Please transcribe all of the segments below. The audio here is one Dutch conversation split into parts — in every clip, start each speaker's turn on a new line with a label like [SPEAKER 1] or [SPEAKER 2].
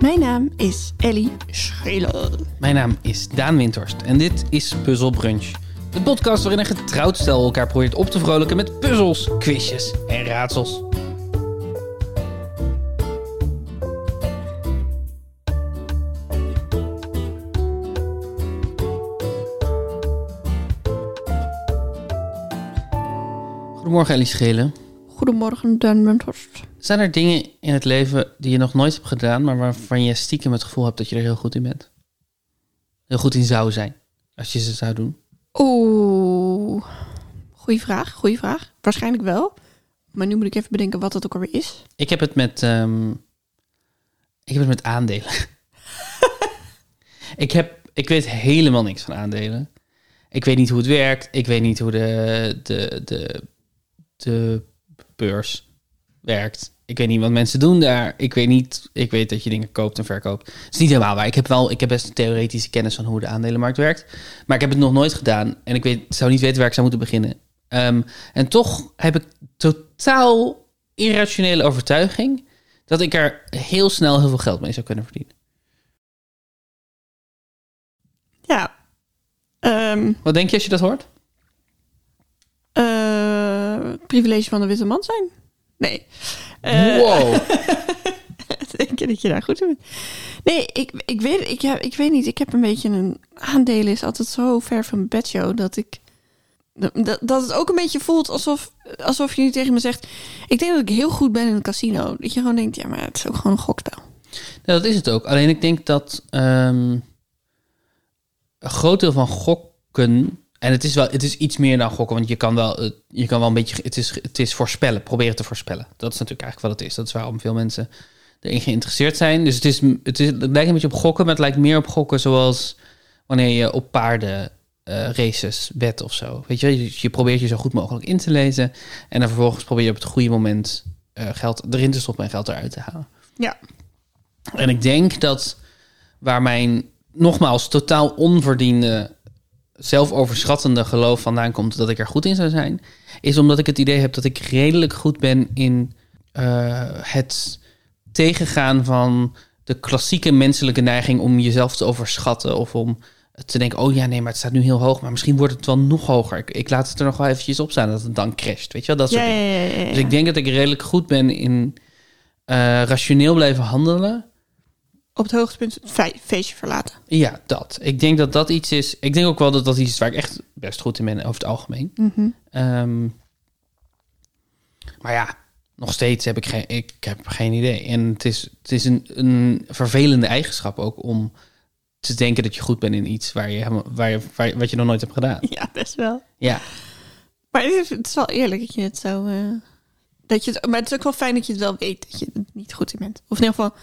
[SPEAKER 1] Mijn naam is Ellie Schelen.
[SPEAKER 2] Mijn naam is Daan Winterst en dit is Puzzle Brunch. De podcast waarin een getrouwd stel elkaar probeert op te vrolijken met puzzels, quizjes en raadsels. Goedemorgen Ellie Schelen.
[SPEAKER 1] Goedemorgen, Dan Munterst.
[SPEAKER 2] Zijn er dingen in het leven die je nog nooit hebt gedaan, maar waarvan je stiekem het gevoel hebt dat je er heel goed in bent? Heel goed in zou zijn, als je ze zou doen.
[SPEAKER 1] Oeh. Goeie vraag, goeie vraag. Waarschijnlijk wel. Maar nu moet ik even bedenken wat dat ook alweer is.
[SPEAKER 2] Ik heb het met, ehm, ik heb het met aandelen. ik, heb, ik weet helemaal niks van aandelen. Ik weet niet hoe het werkt. Ik weet niet hoe de, de, de, de beurs werkt. Ik weet niet wat mensen doen daar. Ik weet niet. Ik weet dat je dingen koopt en verkoopt. Het is niet helemaal waar. Ik heb wel. Ik heb best een theoretische kennis van hoe de aandelenmarkt werkt. Maar ik heb het nog nooit gedaan. En ik weet, zou niet weten waar ik zou moeten beginnen. Ehm, en toch heb ik totaal irrationele overtuiging dat ik er heel snel heel veel geld mee zou kunnen verdienen.
[SPEAKER 1] Ja. Ehm,
[SPEAKER 2] Wat denk je als je dat hoort?
[SPEAKER 1] eh, privilege van de witte man zijn? Nee. Eh,
[SPEAKER 2] Wow.
[SPEAKER 1] denk je dat je daar goed in bent. Nee, ik, ik, weet, ik, heb- ik weet niet. Ik heb een beetje een aandelen is altijd zo ver van mijn bedshow dat ik. Dat, dat het ook een beetje voelt alsof, alsof je nu tegen me zegt: Ik denk dat ik heel goed ben in een casino. Dat je gewoon denkt: Ja, maar het is ook gewoon een gokspel.
[SPEAKER 2] Nou, dat is het ook. Alleen ik denk dat ehm, een groot deel van gokken. En het is wel, het is iets meer dan gokken, want je kan wel, eh, je kan wel een beetje, het is, het is voorspellen, proberen te voorspellen. Dat is natuurlijk eigenlijk wat het is. Dat is waarom veel mensen erin geïnteresseerd zijn. Dus het, is, het, is, het lijkt een beetje op gokken, maar het lijkt meer op gokken zoals wanneer je op paarden eh, races wedt of zo. Weet je, wel? je, je probeert je zo goed mogelijk in te lezen en dan vervolgens probeer je op het goede moment eh, geld erin te stoppen en geld eruit te halen.
[SPEAKER 1] Ja.
[SPEAKER 2] En ik denk dat waar mijn nogmaals totaal onverdiende, zelfoverschattende geloof vandaan komt dat ik er goed in zou zijn, is omdat ik het idee heb dat ik redelijk goed ben in eh, het tegengaan van de klassieke menselijke neiging om jezelf te overschatten of om te denken, oh ja, nee, maar het staat nu heel hoog, maar misschien wordt het wel nog hoger. Ik, ik laat het er nog wel eventjes op staan dat het dan crasht, weet je wel, dat soort
[SPEAKER 1] Ja,
[SPEAKER 2] dingen.
[SPEAKER 1] ja, ja, ja, ja.
[SPEAKER 2] Dus ik denk dat ik redelijk goed ben in eh, rationeel blijven handelen.
[SPEAKER 1] Op het hoogtepunt het fe- feestje verlaten.
[SPEAKER 2] Ja, dat. Ik denk dat dat iets is. Ik denk ook wel dat dat iets is waar ik echt best goed in ben over het algemeen. Ehm, maar ja, nog steeds heb ik geen, ik heb geen idee. En het is, het is een, een vervelende eigenschap ook om te denken dat je goed bent in iets waar je, helemaal- waar je, waar je- wat je nog nooit hebt gedaan.
[SPEAKER 1] Ja, best wel.
[SPEAKER 2] Ja,
[SPEAKER 1] Maar het is, het is wel eerlijk dat je het zo. eh, dat je het, maar het is ook wel fijn dat je het wel weet dat je er niet goed in bent. Of in ieder geval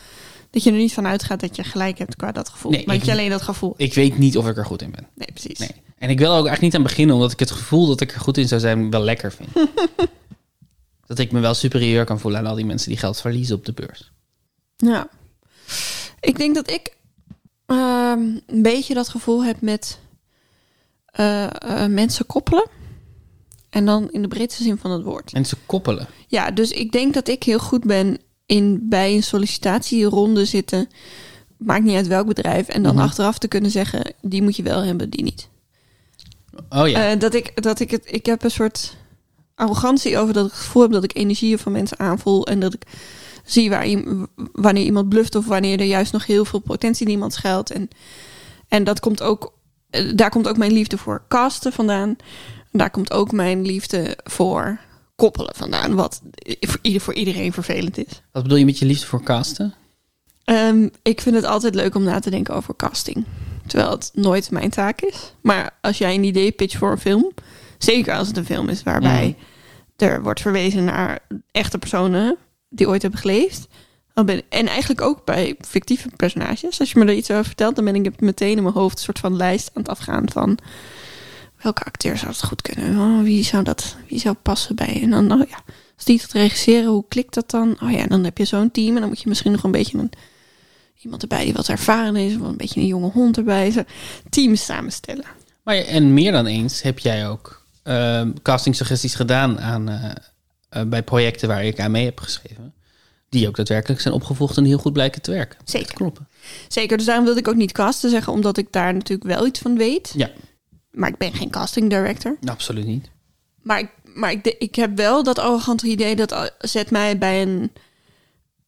[SPEAKER 1] dat je er niet van uitgaat dat je gelijk hebt qua dat gevoel.
[SPEAKER 2] Nee,
[SPEAKER 1] maar
[SPEAKER 2] ik-
[SPEAKER 1] dat je alleen dat gevoel.
[SPEAKER 2] ik weet niet of ik er goed in ben.
[SPEAKER 1] Nee, precies.
[SPEAKER 2] Nee. En ik wil er ook eigenlijk niet aan beginnen, omdat ik het gevoel dat ik er goed in zou zijn wel lekker vind. dat ik me wel superieur kan voelen aan al die mensen die geld verliezen op de beurs.
[SPEAKER 1] Ja. Ik denk dat ik ehm, een beetje dat gevoel heb met eh, eh, mensen koppelen. En dan in de breedste zin van het woord.
[SPEAKER 2] En ze koppelen.
[SPEAKER 1] Ja, dus ik denk dat ik heel goed ben in bij een sollicitatieronde zitten. Maakt niet uit welk bedrijf. En dan
[SPEAKER 2] Mhm.
[SPEAKER 1] achteraf te kunnen zeggen, die moet je wel hebben, die niet.
[SPEAKER 2] Oh ja.
[SPEAKER 1] Eh, dat ik, dat ik, het, ik heb een soort arrogantie over dat ik het gevoel heb dat ik energieën van mensen aanvoel. En dat ik zie waar, i- wanneer iemand bluft of wanneer er juist nog heel veel potentie in iemand schuilt. En, en dat komt ook, eh, daar komt ook mijn liefde voor casten vandaan. Daar komt ook mijn liefde voor koppelen vandaan. Wat i- voor, ieder, voor iedereen vervelend is.
[SPEAKER 2] Wat bedoel je met je liefde voor casten?
[SPEAKER 1] Ehm, ik vind het altijd leuk om na te denken over casting. Terwijl het nooit mijn taak is. Maar als jij een idee pitcht voor een film, zeker als het een film is waarbij er wordt verwezen naar echte personen die ooit hebben geleefd. Dan ben, en eigenlijk ook bij fictieve personages. Als je me er iets over vertelt, dan ben ik meteen in mijn hoofd een soort van lijst aan het afgaan van welke acteur zou het goed kunnen? Oh, wie, zou dat, wie zou passen bij? En dan, oh ja, als die het regisseren, hoe klikt dat dan? Oh ja, dan heb je zo'n team en dan moet je misschien nog een beetje een, iemand erbij die wat ervaren is, of een beetje een jonge hond erbij. Zo, teams samenstellen.
[SPEAKER 2] Maar, en meer dan eens heb jij ook ehm casting suggesties gedaan aan, eh, eh, bij projecten waar ik aan mee heb geschreven. die ook daadwerkelijk zijn opgevolgd en die heel goed blijken te werken.
[SPEAKER 1] Zeker.
[SPEAKER 2] Kloppen.
[SPEAKER 1] Zeker, dus daarom wilde ik ook niet casten zeggen, omdat ik daar natuurlijk wel iets van weet.
[SPEAKER 2] Ja.
[SPEAKER 1] Maar ik ben geen casting director.
[SPEAKER 2] Absoluut niet.
[SPEAKER 1] Maar ik, maar ik, de- ik heb wel dat arrogante idee dat al- zet mij bij een,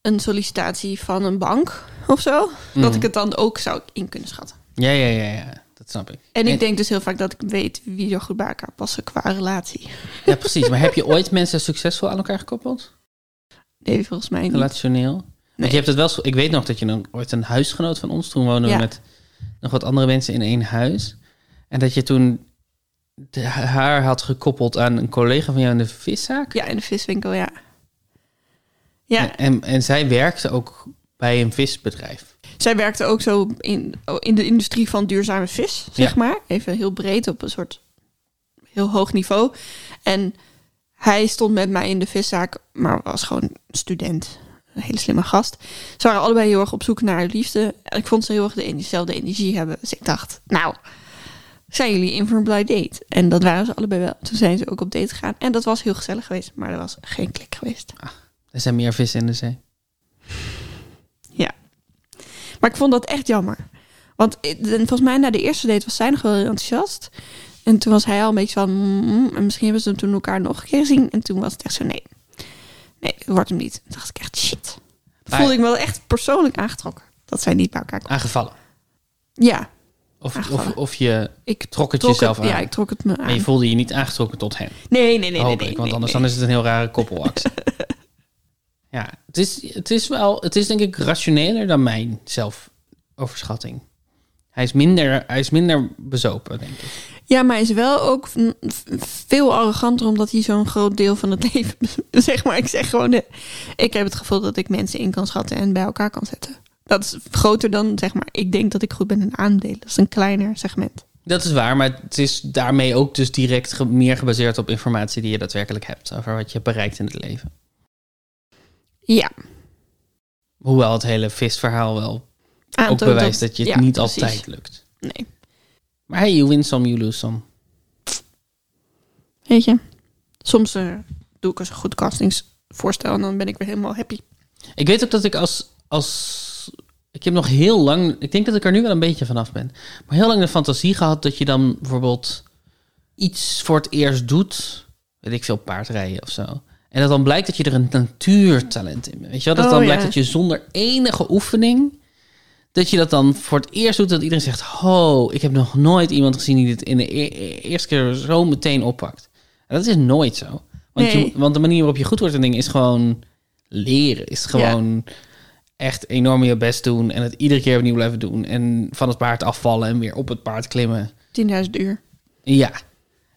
[SPEAKER 1] een sollicitatie van een bank of zo. Dat ik het dan ook zou in kunnen schatten.
[SPEAKER 2] Ja, ja, ja, ja. Dat snap ik.
[SPEAKER 1] En ik denk dus heel vaak dat ik weet wie er goed bij elkaar passen qua relatie.
[SPEAKER 2] Ja, precies. Maar heb je ooit mensen succesvol aan elkaar gekoppeld?
[SPEAKER 1] Nee, volgens mij niet.
[SPEAKER 2] Relationeel? Want je hebt het wel... zo- Ik weet nog dat je dan ooit een huisgenoot van ons... Toen woonden
[SPEAKER 1] Ja.
[SPEAKER 2] we met nog wat andere mensen in één huis. En dat je toen de, haar had gekoppeld aan een collega van jou in de viszaak.
[SPEAKER 1] Ja, in de viswinkel, ja. Ja,
[SPEAKER 2] En, en zij werkte ook bij een visbedrijf.
[SPEAKER 1] zij werkte ook zo in, in de industrie van duurzame vis, zeg
[SPEAKER 2] Ja.
[SPEAKER 1] maar. Even heel breed op een soort heel hoog niveau. En hij stond met mij in de viszaak, maar was gewoon een student. Een hele slimme gast. Ze waren allebei heel erg op zoek naar liefde. En ik vond ze heel erg de en- dezelfde energie hebben. Dus ik dacht, nou, zijn jullie in voor een blind date? En dat waren ze allebei wel. Toen zijn ze ook op date gegaan. En dat was heel gezellig geweest, maar er was geen klik geweest.
[SPEAKER 2] Er zijn meer vissen in de zee.
[SPEAKER 1] Ja. Maar ik vond dat echt jammer. Want eh, en volgens mij na de eerste date was zij nog wel heel enthousiast. En toen was hij al een beetje van... mm, en misschien hebben ze hem toen elkaar nog een keer gezien. En toen was het echt zo, nee. Nee, het wordt hem niet. Toen dacht ik echt, shit.
[SPEAKER 2] Maar-
[SPEAKER 1] Voelde ik me wel echt persoonlijk aangetrokken. Dat zij niet bij elkaar kwamen.
[SPEAKER 2] Aangevallen.
[SPEAKER 1] Ja,
[SPEAKER 2] Of, of,
[SPEAKER 1] Aangevallen.
[SPEAKER 2] of je
[SPEAKER 1] ik
[SPEAKER 2] trok het jezelf aan.
[SPEAKER 1] Ja, ik trok het me
[SPEAKER 2] Maar
[SPEAKER 1] aan.
[SPEAKER 2] je voelde je niet aangetrokken tot hen.
[SPEAKER 1] Nee, nee, nee, nee.
[SPEAKER 2] hoop
[SPEAKER 1] nee,
[SPEAKER 2] ik. Want
[SPEAKER 1] nee,
[SPEAKER 2] anders
[SPEAKER 1] nee.
[SPEAKER 2] dan is het een heel rare koppelactie. ja, het is, het is wel, het is denk ik rationeler dan mijn zelfoverschatting. Hij is minder, hij is minder bezopen, denk ik.
[SPEAKER 1] Ja, maar hij is wel ook v- v- veel arroganter omdat hij zo'n groot deel van het leven. zeg maar, ik zeg gewoon. eh, ik heb het gevoel dat ik mensen in kan schatten en bij elkaar kan zetten. Dat is groter dan zeg maar. Ik denk dat ik goed ben in aandelen. Dat is een kleiner segment.
[SPEAKER 2] Dat is waar, maar het is daarmee ook dus direct ge- meer gebaseerd op informatie die je daadwerkelijk hebt over wat je hebt bereikt in het leven.
[SPEAKER 1] Ja,
[SPEAKER 2] Hoewel het hele visverhaal wel ook
[SPEAKER 1] aantoont
[SPEAKER 2] bewijst dat, je het
[SPEAKER 1] ja,
[SPEAKER 2] niet
[SPEAKER 1] precies.
[SPEAKER 2] altijd lukt.
[SPEAKER 1] Nee.
[SPEAKER 2] Maar hey, you win some, you lose some.
[SPEAKER 1] Weet je, soms eh, doe ik eens een goed castingsvoorstel en dan ben ik weer helemaal happy.
[SPEAKER 2] Ik weet ook dat ik als, als... Ik heb nog heel lang... Ik denk dat ik er nu wel een beetje vanaf ben. Maar heel lang de fantasie gehad dat je dan bijvoorbeeld iets voor het eerst doet. Weet ik veel, paardrijden of zo. En dat dan blijkt dat je er een natuurtalent in bent. Weet je wel? Dat
[SPEAKER 1] Oh,
[SPEAKER 2] dan
[SPEAKER 1] ja.
[SPEAKER 2] blijkt dat je zonder enige oefening... Dat je dat dan voor het eerst doet, dat iedereen zegt... Ho, ik heb nog nooit iemand gezien die dit in de e- e- eerste keer zo meteen oppakt. En dat is nooit zo. Want,
[SPEAKER 1] Nee.
[SPEAKER 2] je, want de manier waarop je goed wordt in dingen is gewoon leren. Is gewoon echt enorm je best doen en het iedere keer opnieuw blijven doen. En van het paard afvallen en weer op het paard klimmen.
[SPEAKER 1] 10.000 uur,
[SPEAKER 2] Ja.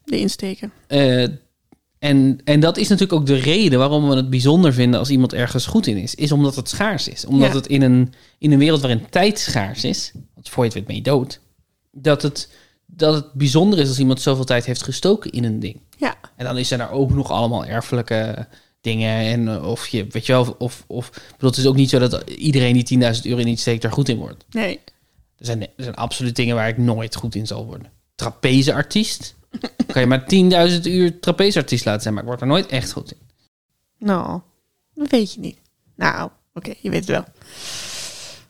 [SPEAKER 1] de insteken.
[SPEAKER 2] eh, en, en dat is natuurlijk ook de reden waarom we het bijzonder vinden als iemand ergens goed in is. Is omdat het schaars is. Omdat
[SPEAKER 1] Ja.
[SPEAKER 2] het in een, in een wereld waarin tijd schaars is, want voor je het weet ben je dood, dat het, dat het bijzonder is als iemand zoveel tijd heeft gestoken in een ding.
[SPEAKER 1] Ja,
[SPEAKER 2] En dan zijn er ook nog allemaal erfelijke dingen. En eh, of je, weet je wel, of, of, of ik bedoel, het is ook niet zo dat iedereen die 10.000 euro in iets steekt daar goed in wordt.
[SPEAKER 1] nee.
[SPEAKER 2] Er zijn, er zijn absoluut dingen waar ik nooit goed in zal worden. Trapezeartiest. kan je maar 10.000 uur trapezeartiest laten zijn, maar ik word er nooit echt goed in.
[SPEAKER 1] Nou, dat weet je niet. Nou, oké, je weet het wel.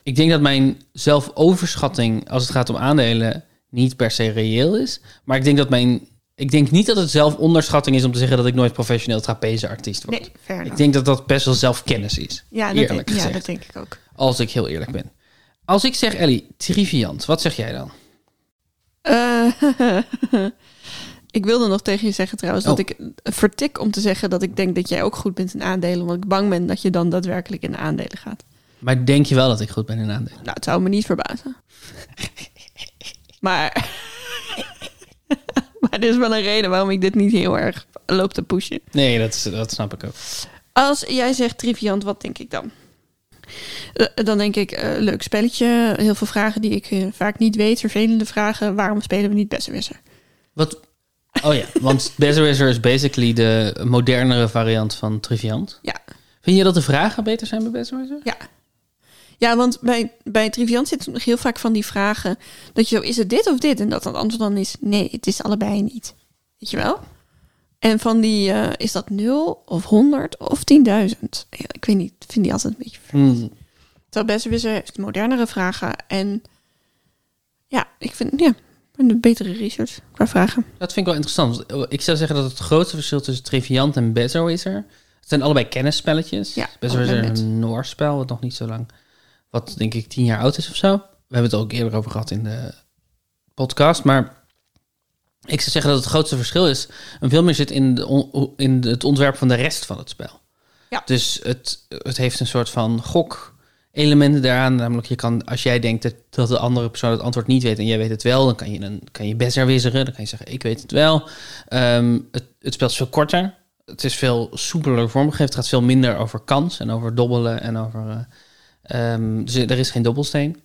[SPEAKER 2] Ik denk dat mijn zelfoverschatting als het gaat om aandelen niet per se reëel is. Maar ik denk dat mijn. Ik denk niet dat het zelfonderschatting is om te zeggen dat ik nooit professioneel trapezeartiest word.
[SPEAKER 1] Nee, fair
[SPEAKER 2] ik
[SPEAKER 1] enough.
[SPEAKER 2] denk dat dat best wel zelfkennis is.
[SPEAKER 1] Ja, dat,
[SPEAKER 2] eerlijk
[SPEAKER 1] denk, ja,
[SPEAKER 2] gezegd.
[SPEAKER 1] dat denk ik ook.
[SPEAKER 2] Als ik heel eerlijk ben. Als ik zeg, Ellie, triviant, wat zeg jij dan?
[SPEAKER 1] Eh, ik wilde nog tegen je zeggen trouwens
[SPEAKER 2] Oh.
[SPEAKER 1] dat ik vertik om te zeggen dat ik denk dat jij ook goed bent in aandelen, want ik bang ben dat je dan daadwerkelijk in de aandelen gaat.
[SPEAKER 2] Maar denk je wel dat ik goed ben in aandelen?
[SPEAKER 1] Nou, het zou me niet verbazen. maar, maar er is wel een reden waarom ik dit niet heel erg loop te pushen.
[SPEAKER 2] Nee, dat, is- dat snap ik ook.
[SPEAKER 1] Als jij zegt triviant, wat denk ik dan? Eh, Dan denk ik, eh, leuk spelletje, heel veel vragen die ik eh, vaak niet weet, vervelende vragen. Waarom spelen we niet besserwisser?
[SPEAKER 2] Wat? Oh ja, want Besserwisser is basically de modernere variant van triviant.
[SPEAKER 1] Ja,
[SPEAKER 2] Vind je dat de vragen beter zijn bij Besserwisser?
[SPEAKER 1] Ja. Ja, want bij, bij Triviant zit nog heel vaak van die vragen. Dat je zo, is het dit of dit? En dat het antwoord dan is, nee, het is allebei niet. Weet je wel? En van die, eh, is dat 0 of 100 of 10.000? Ja, Ik weet niet, ik vind die altijd een beetje
[SPEAKER 2] Hmm.
[SPEAKER 1] Terwijl Besserwisser heeft modernere vragen. En ja, ik vind ja, een betere research qua vragen.
[SPEAKER 2] Dat vind ik wel interessant. want eh, Ik zou zeggen dat het grootste verschil tussen Triviant en Bezo is er. Het zijn allebei kennisspelletjes.
[SPEAKER 1] Ja,
[SPEAKER 2] Bezo is
[SPEAKER 1] allebei
[SPEAKER 2] er
[SPEAKER 1] net.
[SPEAKER 2] een Noors spel, wat nog niet zo lang... Wat denk ik tien jaar oud is of zo. We hebben het ook eerder over gehad in de podcast. Maar ik zou zeggen dat het grootste verschil is... en veel meer zit in, de on- in het ontwerp van de rest van het spel.
[SPEAKER 1] Ja.
[SPEAKER 2] Dus het, het heeft een soort van gok elementen daaraan. Namelijk, je kan, als jij denkt dat, dat de andere persoon het antwoord niet weet en jij weet het wel, dan kan je, een, kan je best herwisseren. Dan kan je zeggen, ik weet het wel. Ehm, het, het spel is veel korter. Het is veel soepeler vormgegeven. Het gaat veel minder over kans en over dobbelen en over... eh, ehm, dus er is geen dobbelsteen.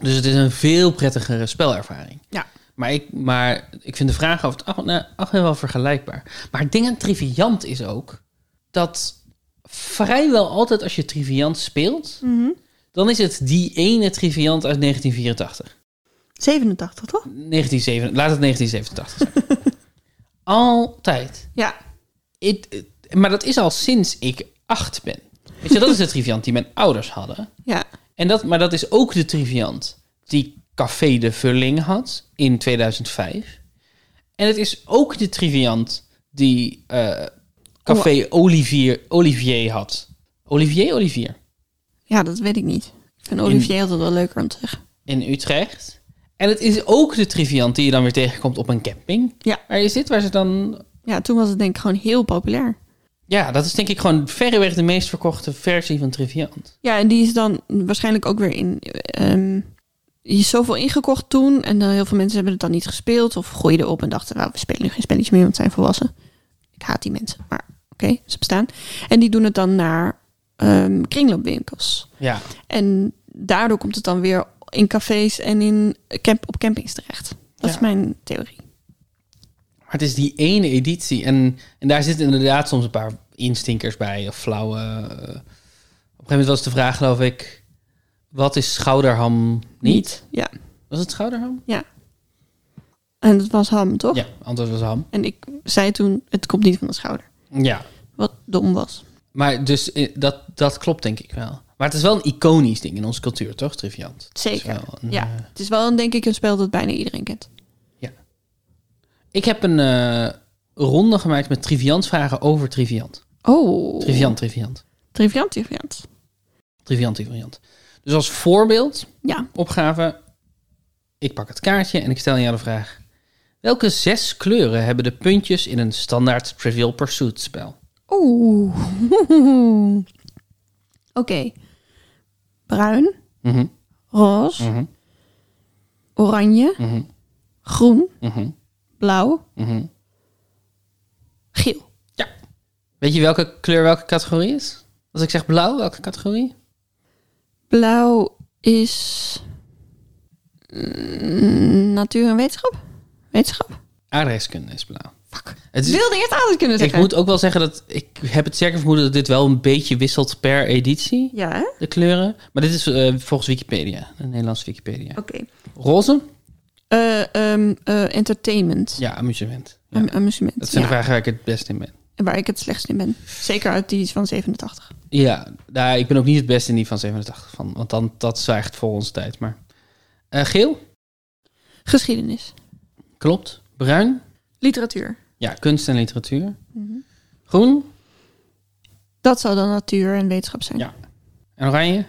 [SPEAKER 2] Dus het is een veel prettigere spelervaring.
[SPEAKER 1] Ja.
[SPEAKER 2] Maar ik, maar ik vind de vraag over het ach, nou, ach, wel vergelijkbaar. Maar het ding aan Triviant is ook dat vrijwel altijd als je Triviant speelt, dan is het die ene Triviant uit 1984.
[SPEAKER 1] 87, toch?
[SPEAKER 2] 1987, laat het 1987 zijn. altijd.
[SPEAKER 1] Ja.
[SPEAKER 2] It- it- maar dat is al sinds ik acht ben. Weet je, dat is de Triviant die mijn ouders hadden.
[SPEAKER 1] Ja.
[SPEAKER 2] En dat, maar dat is ook de Triviant die Café de Vulling had in 2005. En het is ook de Triviant die eh, Café Olivier, Olivier had. Olivier, Olivier.
[SPEAKER 1] ja, dat weet ik niet. Ik vind Olivier altijd wel leuker om te zeggen.
[SPEAKER 2] in Utrecht. En het is ook de Triviant die je dan weer tegenkomt op een camping.
[SPEAKER 1] Ja.
[SPEAKER 2] Waar is dit? Waar ze dan...
[SPEAKER 1] Ja, toen was het denk ik gewoon heel populair.
[SPEAKER 2] Ja, dat is denk ik gewoon verreweg de meest verkochte versie van Triviant.
[SPEAKER 1] Ja, en die is dan waarschijnlijk ook weer in... ehm je is zoveel ingekocht toen en dan heel veel mensen hebben het dan niet gespeeld of gooiden op en dachten, nou, we spelen nu geen spelletjes meer, want het zijn volwassen. Ik haat die mensen, maar oké, ze bestaan. En die doen het dan naar ehm, kringloopwinkels.
[SPEAKER 2] Ja.
[SPEAKER 1] En daardoor komt het dan weer in cafés en in camp op campings terecht. Dat
[SPEAKER 2] Ja.
[SPEAKER 1] is mijn theorie.
[SPEAKER 2] Maar het is die ene editie. En, en daar zitten inderdaad soms een paar instinkers bij. Of flauwe... eh, Op een gegeven moment was de vraag, geloof ik... Wat is schouderham niet?
[SPEAKER 1] Ja.
[SPEAKER 2] Was het schouderham?
[SPEAKER 1] En dat was ham, toch?
[SPEAKER 2] Ja, antwoord was ham.
[SPEAKER 1] En ik zei toen, het komt niet van de schouder.
[SPEAKER 2] Ja.
[SPEAKER 1] Wat dom was.
[SPEAKER 2] Maar dus eh, dat, dat klopt denk ik wel. Maar het is wel een iconisch ding in onze cultuur, toch, Triviant? Het is
[SPEAKER 1] Zeker,
[SPEAKER 2] wel een,
[SPEAKER 1] ja.
[SPEAKER 2] eh,
[SPEAKER 1] Het is wel, een, denk ik, een spel dat bijna iedereen kent.
[SPEAKER 2] Ik heb een eh, ronde gemaakt met triviantvragen over triviant.
[SPEAKER 1] Oh.
[SPEAKER 2] Triviant, triviant.
[SPEAKER 1] Triviant, triviant.
[SPEAKER 2] Triviant, triviant. Dus als voorbeeld,
[SPEAKER 1] Ja.
[SPEAKER 2] opgave. Ik pak het kaartje en ik stel aan jou de vraag. Welke zes kleuren hebben de puntjes in een standaard Trivial Pursuit spel?
[SPEAKER 1] Oeh. Oké. Bruin,
[SPEAKER 2] Mhm,
[SPEAKER 1] roze,
[SPEAKER 2] mhm,
[SPEAKER 1] oranje,
[SPEAKER 2] mhm,
[SPEAKER 1] groen,
[SPEAKER 2] mhm,
[SPEAKER 1] blauw,
[SPEAKER 2] mhm.
[SPEAKER 1] geel.
[SPEAKER 2] Weet je welke kleur welke categorie is? Als ik zeg blauw, welke categorie?
[SPEAKER 1] Blauw is mm, natuur en wetenschap? Wetenschap?
[SPEAKER 2] Aardrijkskunde is blauw.
[SPEAKER 1] Fuck.
[SPEAKER 2] Het is
[SPEAKER 1] Wilde je het anders kunnen
[SPEAKER 2] Ik
[SPEAKER 1] zeggen?
[SPEAKER 2] moet ook wel zeggen dat ik heb het zeker vermoeden dat dit wel een beetje wisselt per editie.
[SPEAKER 1] Ja, hè?
[SPEAKER 2] De kleuren. Maar dit is eh, volgens Wikipedia, de Nederlandse Wikipedia.
[SPEAKER 1] Oké.
[SPEAKER 2] Roze?
[SPEAKER 1] Eh, ehm, eh, entertainment.
[SPEAKER 2] Ja, amusement. Ja.
[SPEAKER 1] Am- Amusement.
[SPEAKER 2] Dat zijn
[SPEAKER 1] ja.
[SPEAKER 2] de vragen waar ik het best in ben.
[SPEAKER 1] En Waar ik het slechtst in ben. Zeker uit die van 87.
[SPEAKER 2] Ja, nou, ik ben ook niet het best in die van 87. Van, want dan, dat zwijgt voor onze tijd. Maar. Eh, geel?
[SPEAKER 1] Geschiedenis.
[SPEAKER 2] Klopt. Bruin?
[SPEAKER 1] Literatuur.
[SPEAKER 2] Ja, kunst en literatuur. Groen?
[SPEAKER 1] Dat zou dan natuur en wetenschap zijn.
[SPEAKER 2] Ja. En oranje?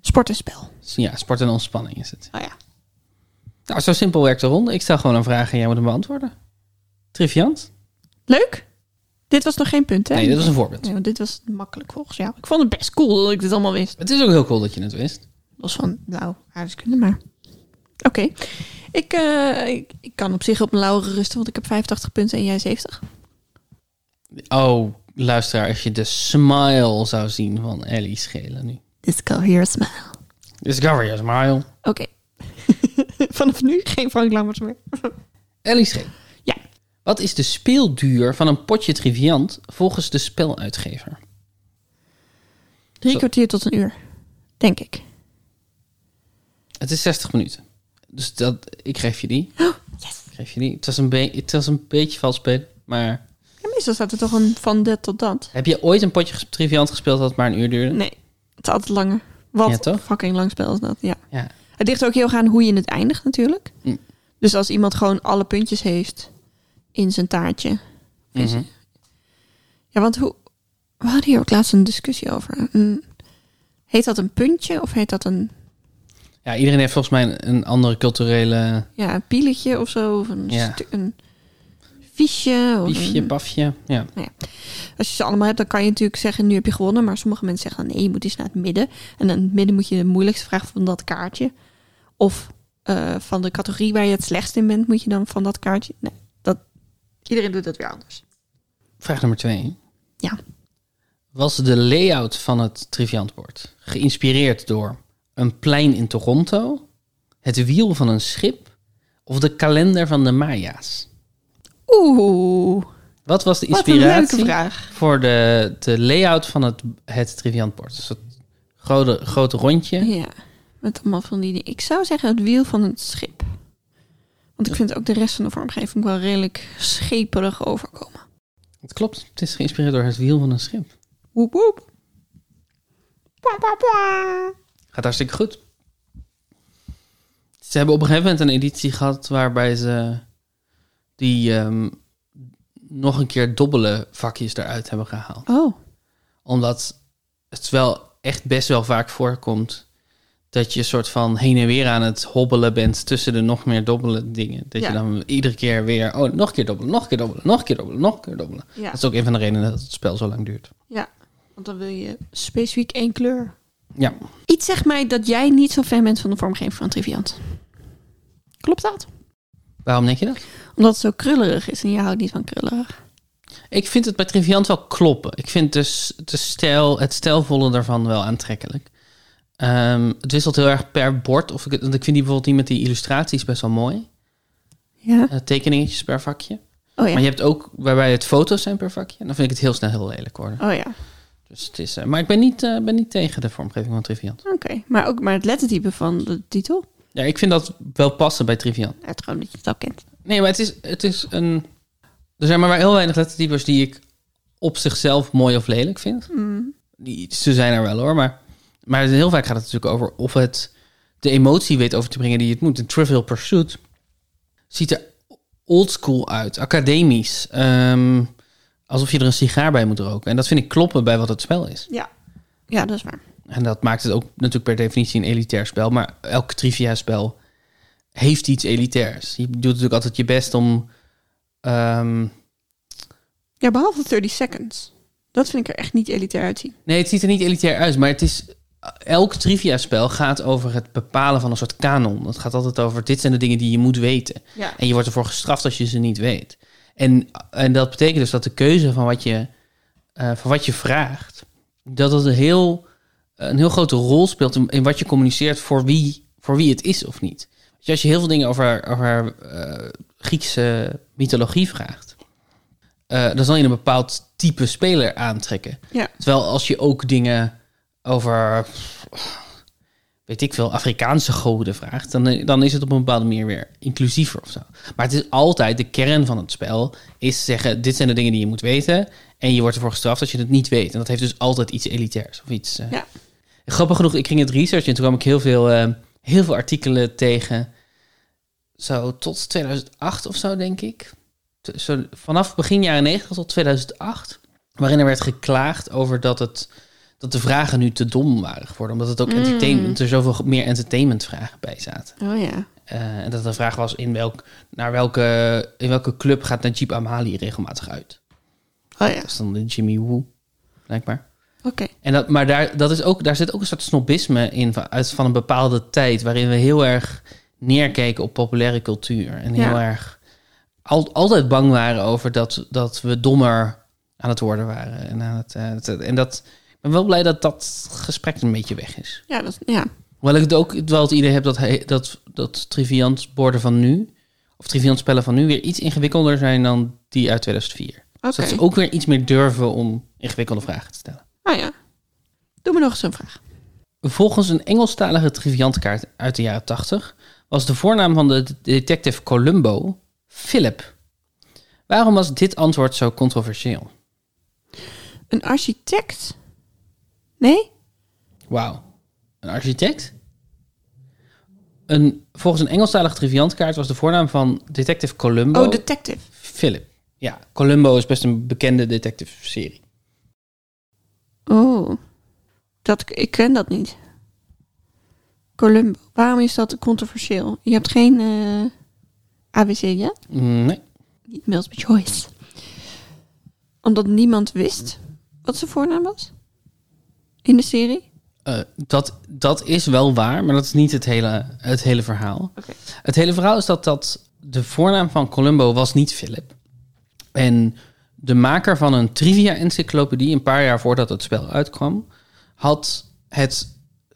[SPEAKER 1] Sport en spel.
[SPEAKER 2] Ja, sport en ontspanning is het.
[SPEAKER 1] Oh ja.
[SPEAKER 2] Nou, zo simpel werkt de ronde. Ik stel gewoon een vraag en jij moet hem beantwoorden. Triviant?
[SPEAKER 1] Leuk. Dit was nog geen punt, hè?
[SPEAKER 2] Nee, dat is een voorbeeld.
[SPEAKER 1] Nee, want dit was makkelijk volgens jou. Ik vond het best cool dat ik dit allemaal wist.
[SPEAKER 2] Het is ook heel cool dat je het wist.
[SPEAKER 1] Los van blauw aardeskunde, maar... Oké. Ik, eh, ik, ik kan op zich op mijn lauweren rusten, want ik heb 85 punten en jij 70.
[SPEAKER 2] Oh, luisteraar, als je de smile zou zien van Ellie Schelen nu.
[SPEAKER 1] Discover your smile.
[SPEAKER 2] Discover your smile.
[SPEAKER 1] Oké. Vanaf nu geen Frank Lammers meer.
[SPEAKER 2] Ellie Schelen.
[SPEAKER 1] Ja.
[SPEAKER 2] Wat is de speelduur van een potje triviant volgens de speluitgever?
[SPEAKER 1] Drie
[SPEAKER 2] Zo.
[SPEAKER 1] kwartier tot een uur. Denk ik.
[SPEAKER 2] Het is 60 minuten. Dus dat, ik geef je die.
[SPEAKER 1] Yes.
[SPEAKER 2] geef je die. Het was een, be- het was een beetje vals spelen, maar...
[SPEAKER 1] Ja, meestal staat er toch een van dit tot dat.
[SPEAKER 2] Heb je ooit een potje ges- triviant gespeeld dat maar een uur duurde?
[SPEAKER 1] Nee, het is altijd langer. Wat
[SPEAKER 2] Ja, toch?
[SPEAKER 1] fucking lang spel is dat, ja.
[SPEAKER 2] Ja.
[SPEAKER 1] Het ligt ook heel erg aan hoe je het eindigt natuurlijk.
[SPEAKER 2] Mm.
[SPEAKER 1] Dus als iemand gewoon alle puntjes heeft in zijn taartje. Is-
[SPEAKER 2] Mhm.
[SPEAKER 1] Ja, want hoe... We hadden hier ook laatst een discussie over. Een- heet dat een puntje of heet dat een
[SPEAKER 2] Ja, iedereen heeft volgens mij een, een andere culturele
[SPEAKER 1] ja, een pieletje of zo? Of een,
[SPEAKER 2] Ja.
[SPEAKER 1] stu- een fiche? Of
[SPEAKER 2] biefje,
[SPEAKER 1] een-
[SPEAKER 2] pafje. Ja.
[SPEAKER 1] als je ze allemaal hebt, dan kan je natuurlijk zeggen... nu heb je gewonnen. Maar sommige mensen zeggen dan... nee, je moet eens naar het midden. En dan in het midden moet je de moeilijkste vraag van dat kaartje. Of eh, van de categorie waar je het slechtst in bent... moet je dan van dat kaartje... Nee, dat, iedereen doet dat weer anders.
[SPEAKER 2] Vraag nummer twee.
[SPEAKER 1] Ja.
[SPEAKER 2] Was de layout van het triviantbord geïnspireerd door een plein in Toronto, het wiel van een schip of de kalender van de Maya's?
[SPEAKER 1] Oeh,
[SPEAKER 2] Wat was de
[SPEAKER 1] wat een leuke
[SPEAKER 2] inspiratie
[SPEAKER 1] vraag.
[SPEAKER 2] voor de, de layout van het, het triviantbord? Dus dat grote, grote rondje.
[SPEAKER 1] Ja, met allemaal van die dingen. Ik zou zeggen het wiel van het schip. Want ik vind ook de rest van de vormgeving wel redelijk scheperig overkomen.
[SPEAKER 2] Het klopt, het is geïnspireerd door het wiel van een schip.
[SPEAKER 1] Woep woep. Pwa, pwa, pwa.
[SPEAKER 2] Gaat hartstikke goed. Ze hebben op een gegeven moment een editie gehad waarbij ze die ehm, nog een keer dobbele vakjes eruit hebben gehaald.
[SPEAKER 1] Oh,
[SPEAKER 2] Omdat het wel echt best wel vaak voorkomt dat je soort van heen en weer aan het hobbelen bent tussen de nog meer dobbele dingen. Dat
[SPEAKER 1] Ja.
[SPEAKER 2] je dan iedere keer weer, oh, nog een keer dobbelen, nog een keer dobbelen, nog een keer dobbelen, nog een keer dobbelen.
[SPEAKER 1] ja.
[SPEAKER 2] Dat is ook een van de redenen dat het spel zo lang duurt.
[SPEAKER 1] ja. Want dan wil je specifiek één kleur.
[SPEAKER 2] Ja.
[SPEAKER 1] Iets zegt mij dat jij niet zo fan bent van de vormgeving van Triviant. Klopt dat?
[SPEAKER 2] Waarom denk je dat?
[SPEAKER 1] Omdat het zo krullerig is en je houdt niet van krullerig.
[SPEAKER 2] Ik vind het bij Triviant wel kloppen. Ik vind dus de stijl, het stijlvolle daarvan wel aantrekkelijk. Ehm, het wisselt heel erg per bord. Of ik, het- want ik vind die bijvoorbeeld die met die illustraties best wel mooi.
[SPEAKER 1] Ja.
[SPEAKER 2] Eh, tekeningetjes per vakje.
[SPEAKER 1] Oh ja.
[SPEAKER 2] Maar je hebt ook waarbij het foto's zijn per vakje. Dan vind ik het heel snel heel lelijk worden.
[SPEAKER 1] Oh ja.
[SPEAKER 2] Dus het is, eh, maar ik ben niet, eh, ben niet tegen de vormgeving van Triviant.
[SPEAKER 1] Oké. Maar ook maar het lettertype van de titel.
[SPEAKER 2] Ja, ik vind dat wel passen bij Triviant.
[SPEAKER 1] Het gewoon dat je het al kent.
[SPEAKER 2] Nee, maar het is, het is een. Er zijn maar wel heel weinig lettertypes die ik op zichzelf mooi of lelijk vind. Die, ze zijn er wel hoor, maar, maar heel vaak gaat het natuurlijk over of het de emotie weet over te brengen die het moet. Een Trivial Pursuit ziet er oldschool uit, academisch. ehm, alsof je er een sigaar bij moet roken. En dat vind ik kloppen bij wat het spel is.
[SPEAKER 1] Ja. Ja, dat is waar.
[SPEAKER 2] En dat maakt het ook natuurlijk per definitie een elitair spel. Maar elk trivia spel heeft iets elitairs. Je doet natuurlijk altijd je best om... ehm,
[SPEAKER 1] Ja, behalve 30 seconds. Dat vind ik er echt niet elitair uitzien.
[SPEAKER 2] nee, het ziet er niet elitair uit, maar het is... Elk trivia spel gaat over het bepalen van een soort kanon. Het gaat altijd over dit zijn de dingen die je moet weten.
[SPEAKER 1] Ja.
[SPEAKER 2] En je wordt ervoor gestraft als je ze niet weet. En, en dat betekent dus dat de keuze van wat je, eh, van wat je vraagt, dat dat een heel, een heel grote rol speelt in, in wat je communiceert voor wie, voor wie het is of niet. Dus als je heel veel dingen over, over eh, Griekse mythologie vraagt, eh, dan zal je een bepaald type speler aantrekken.
[SPEAKER 1] Ja.
[SPEAKER 2] Terwijl als je ook dingen over, weet ik veel, Afrikaanse goden vraagt, dan, eh, dan is het op een bepaalde manier weer inclusiever of zo. Maar het is altijd de kern van het spel, is zeggen: dit zijn de dingen die je moet weten. En je wordt ervoor gestraft als je het niet weet. En dat heeft dus altijd iets elitairs of iets. eh.
[SPEAKER 1] Ja.
[SPEAKER 2] Grappig genoeg, ik ging het researchen en toen kwam ik heel veel, eh, heel veel artikelen tegen. Zo tot 2008 of zo, denk ik. T- Zo, vanaf begin jaren 90 tot 2008. Waarin er werd geklaagd over dat, het, dat de vragen nu te dom waren geworden. Omdat het ook
[SPEAKER 1] Mm.
[SPEAKER 2] entertainment, er zoveel meer entertainmentvragen bij zaten.
[SPEAKER 1] Oh ja.
[SPEAKER 2] Eh, en dat de vraag was in, welk, naar welke, in welke club gaat Najib Amali regelmatig uit?
[SPEAKER 1] Oh ja.
[SPEAKER 2] Dat is dan de Jimmy Woo, blijkbaar.
[SPEAKER 1] Oké.
[SPEAKER 2] En dat, maar daar, dat is ook, daar zit ook een soort snobisme in van, uit van een bepaalde tijd... waarin we heel erg neerkeken op populaire cultuur. En heel
[SPEAKER 1] Ja.
[SPEAKER 2] erg al, altijd bang waren over dat, dat we dommer aan het worden waren. En, aan het, eh, het- en dat, ik ben wel blij dat dat gesprek een beetje weg is.
[SPEAKER 1] Ja, dat is- ja.
[SPEAKER 2] Hoewel ik het ook wel het idee heb dat, hij, dat, dat triviant borden van nu, of triviant spellen van nu, weer iets ingewikkelder zijn dan die uit 2004.
[SPEAKER 1] Oké.
[SPEAKER 2] Dus dat ze ook weer iets meer durven om ingewikkelde vragen te stellen.
[SPEAKER 1] Ah ja. Doe me nog eens een vraag.
[SPEAKER 2] Volgens een Engelstalige triviantkaart uit de jaren 80 was de voornaam van de detective Columbo Philip, waarom was dit antwoord zo controversieel?
[SPEAKER 1] Een architect? Nee?
[SPEAKER 2] Wauw. Een architect? Een, volgens een Engelstalige triviantkaart was de voornaam van Detective Columbo...
[SPEAKER 1] Oh, detective.
[SPEAKER 2] Philip. Ja, Columbo is best een bekende detective-serie.
[SPEAKER 1] Oh, dat, ik ken dat niet. Columbo. Waarom is dat controversieel? Je hebt geen eh, ABC, ja?
[SPEAKER 2] Mm, Nee.
[SPEAKER 1] Niet multiple choice. Omdat niemand wist wat zijn voornaam was? In de serie?
[SPEAKER 2] Eh, dat, dat is wel waar, maar dat is niet het hele, het hele verhaal.
[SPEAKER 1] Oké.
[SPEAKER 2] Het hele verhaal is dat, dat de voornaam van Columbo was niet Philip. En de maker van een trivia-encyclopedie, een paar jaar voordat het spel uitkwam, had het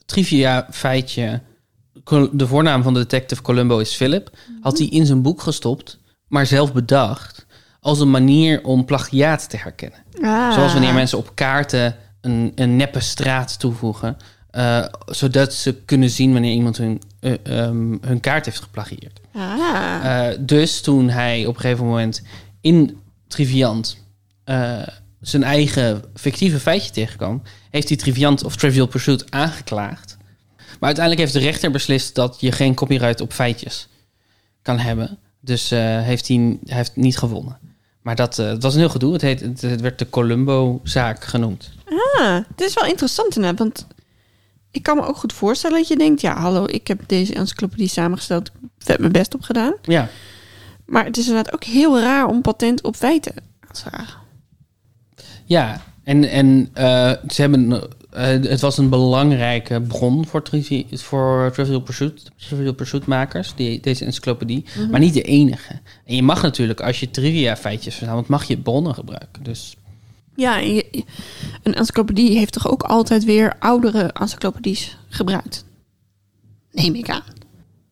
[SPEAKER 2] trivia-feitje, Col- de voornaam van de detective Columbo is Philip, had hij in zijn boek gestopt, maar zelf bedacht als een manier om plagiaat te herkennen.
[SPEAKER 1] Ah.
[SPEAKER 2] Zoals wanneer mensen op kaarten een, een neppe straat toevoegen. eh, zodat ze kunnen zien wanneer iemand hun, eh, ehm, hun kaart heeft geplagieerd.
[SPEAKER 1] Ah.
[SPEAKER 2] Eh, dus toen hij op een gegeven moment in Triviant eh, zijn eigen fictieve feitje tegenkwam, heeft hij Triviant of Trivial Pursuit aangeklaagd. Maar uiteindelijk heeft de rechter beslist dat je geen copyright op feitjes kan hebben. Dus eh, heeft hij, hij heeft niet gewonnen. Maar dat, eh, het was een heel gedoe. Het, heet, het, het werd de Columbo-zaak genoemd.
[SPEAKER 1] Ah, dit is wel interessant inderdaad, want ik kan me ook goed voorstellen dat je denkt, ja hallo, ik heb deze encyclopedie samengesteld, ik heb mijn best op gedaan.
[SPEAKER 2] Ja.
[SPEAKER 1] Maar het is inderdaad ook heel raar om patent op feiten aan te vragen.
[SPEAKER 2] Ja, en, en eh, ze hebben, eh, het was een belangrijke bron voor, trivi- voor Trivial Pursuit, Trivial Pursuit makers, die, deze encyclopedie.
[SPEAKER 1] Mhm.
[SPEAKER 2] Maar niet de enige. En je mag natuurlijk, als je trivia feitjes verzamelt, mag je bronnen gebruiken. Dus
[SPEAKER 1] Ja, en je- een encyclopedie heeft toch ook altijd weer oudere encyclopedies gebruikt? Neem ik aan.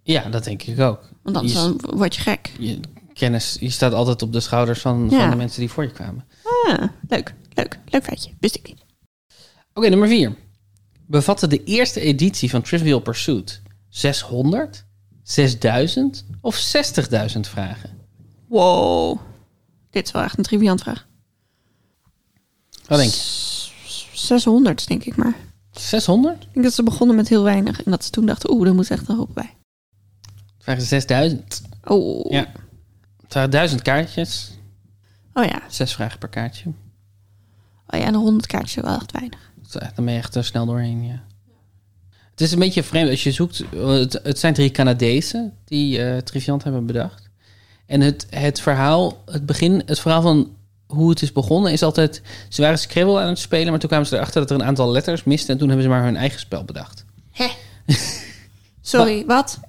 [SPEAKER 2] ja, dat denk ik ook.
[SPEAKER 1] Want anders
[SPEAKER 2] je,
[SPEAKER 1] dan word je gek.
[SPEAKER 2] je kennis, je staat altijd op de schouders van,
[SPEAKER 1] Ja.
[SPEAKER 2] van de mensen die voor je kwamen.
[SPEAKER 1] Ah, leuk, leuk, leuk feitje. Wist ik niet.
[SPEAKER 2] Oké, nummer 4. Bevatte de eerste editie van Trivial Pursuit 600, 6000 of 60.000 vragen?
[SPEAKER 1] Wow. Dit is wel echt een triviant vraag.
[SPEAKER 2] Wat denk je?
[SPEAKER 1] 600 denk ik maar.
[SPEAKER 2] 600?
[SPEAKER 1] Ik denk dat ze begonnen met heel weinig en dat ze toen dachten, oeh, er moet echt een hoop bij.
[SPEAKER 2] Vragen ze 6000.
[SPEAKER 1] Oh
[SPEAKER 2] Ja. Het waren 1000 kaartjes.
[SPEAKER 1] oh ja.
[SPEAKER 2] Zes vragen per kaartje.
[SPEAKER 1] Oh ja, en 100 kaartjes is wel echt weinig.
[SPEAKER 2] Dat is echt- Dus, eh, Dan ben je echt er snel doorheen, ja. Het is een beetje vreemd als je zoekt. eh, Het, het zijn drie Canadezen die eh Triviant hebben bedacht. En het, het verhaal, het begin, het verhaal van hoe het is begonnen is altijd... Ze waren Scrabble aan het spelen, maar toen kwamen ze erachter dat er een aantal letters misten. En toen hebben ze maar hun eigen spel bedacht.
[SPEAKER 1] Hè? Sorry, wat?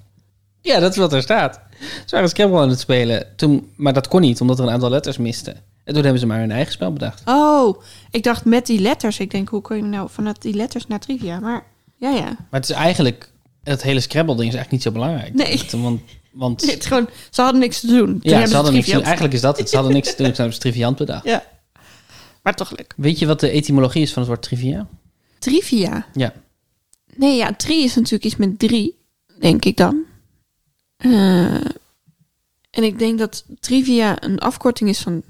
[SPEAKER 2] Ja, dat is wat er staat. Ze waren Scrabble aan het spelen, toen, maar dat kon niet, omdat er een aantal letters misten. En toen hebben ze maar hun eigen spel bedacht.
[SPEAKER 1] Oh, ik dacht met die letters. Ik denk, hoe kun je nou vanuit die letters naar trivia? Maar ja, ja.
[SPEAKER 2] Maar het is eigenlijk, het hele Scrabble-ding is eigenlijk niet zo belangrijk.
[SPEAKER 1] Nee.
[SPEAKER 2] Want, want, want-
[SPEAKER 1] Het is gewoon, ze hadden niks te doen. Toen
[SPEAKER 2] ja,
[SPEAKER 1] hebben
[SPEAKER 2] ze hadden niks te doen.
[SPEAKER 1] triviant.
[SPEAKER 2] Eigenlijk is dat het. Ze hadden niks te doen, ze hebben ze triviant bedacht.
[SPEAKER 1] Ja. Maar toch leuk.
[SPEAKER 2] Weet je wat de etymologie is van het woord trivia?
[SPEAKER 1] Trivia.
[SPEAKER 2] Ja.
[SPEAKER 1] Nee, ja, drie is natuurlijk iets met drie, denk ik dan. Eh, en ik denk dat trivia een afkorting is van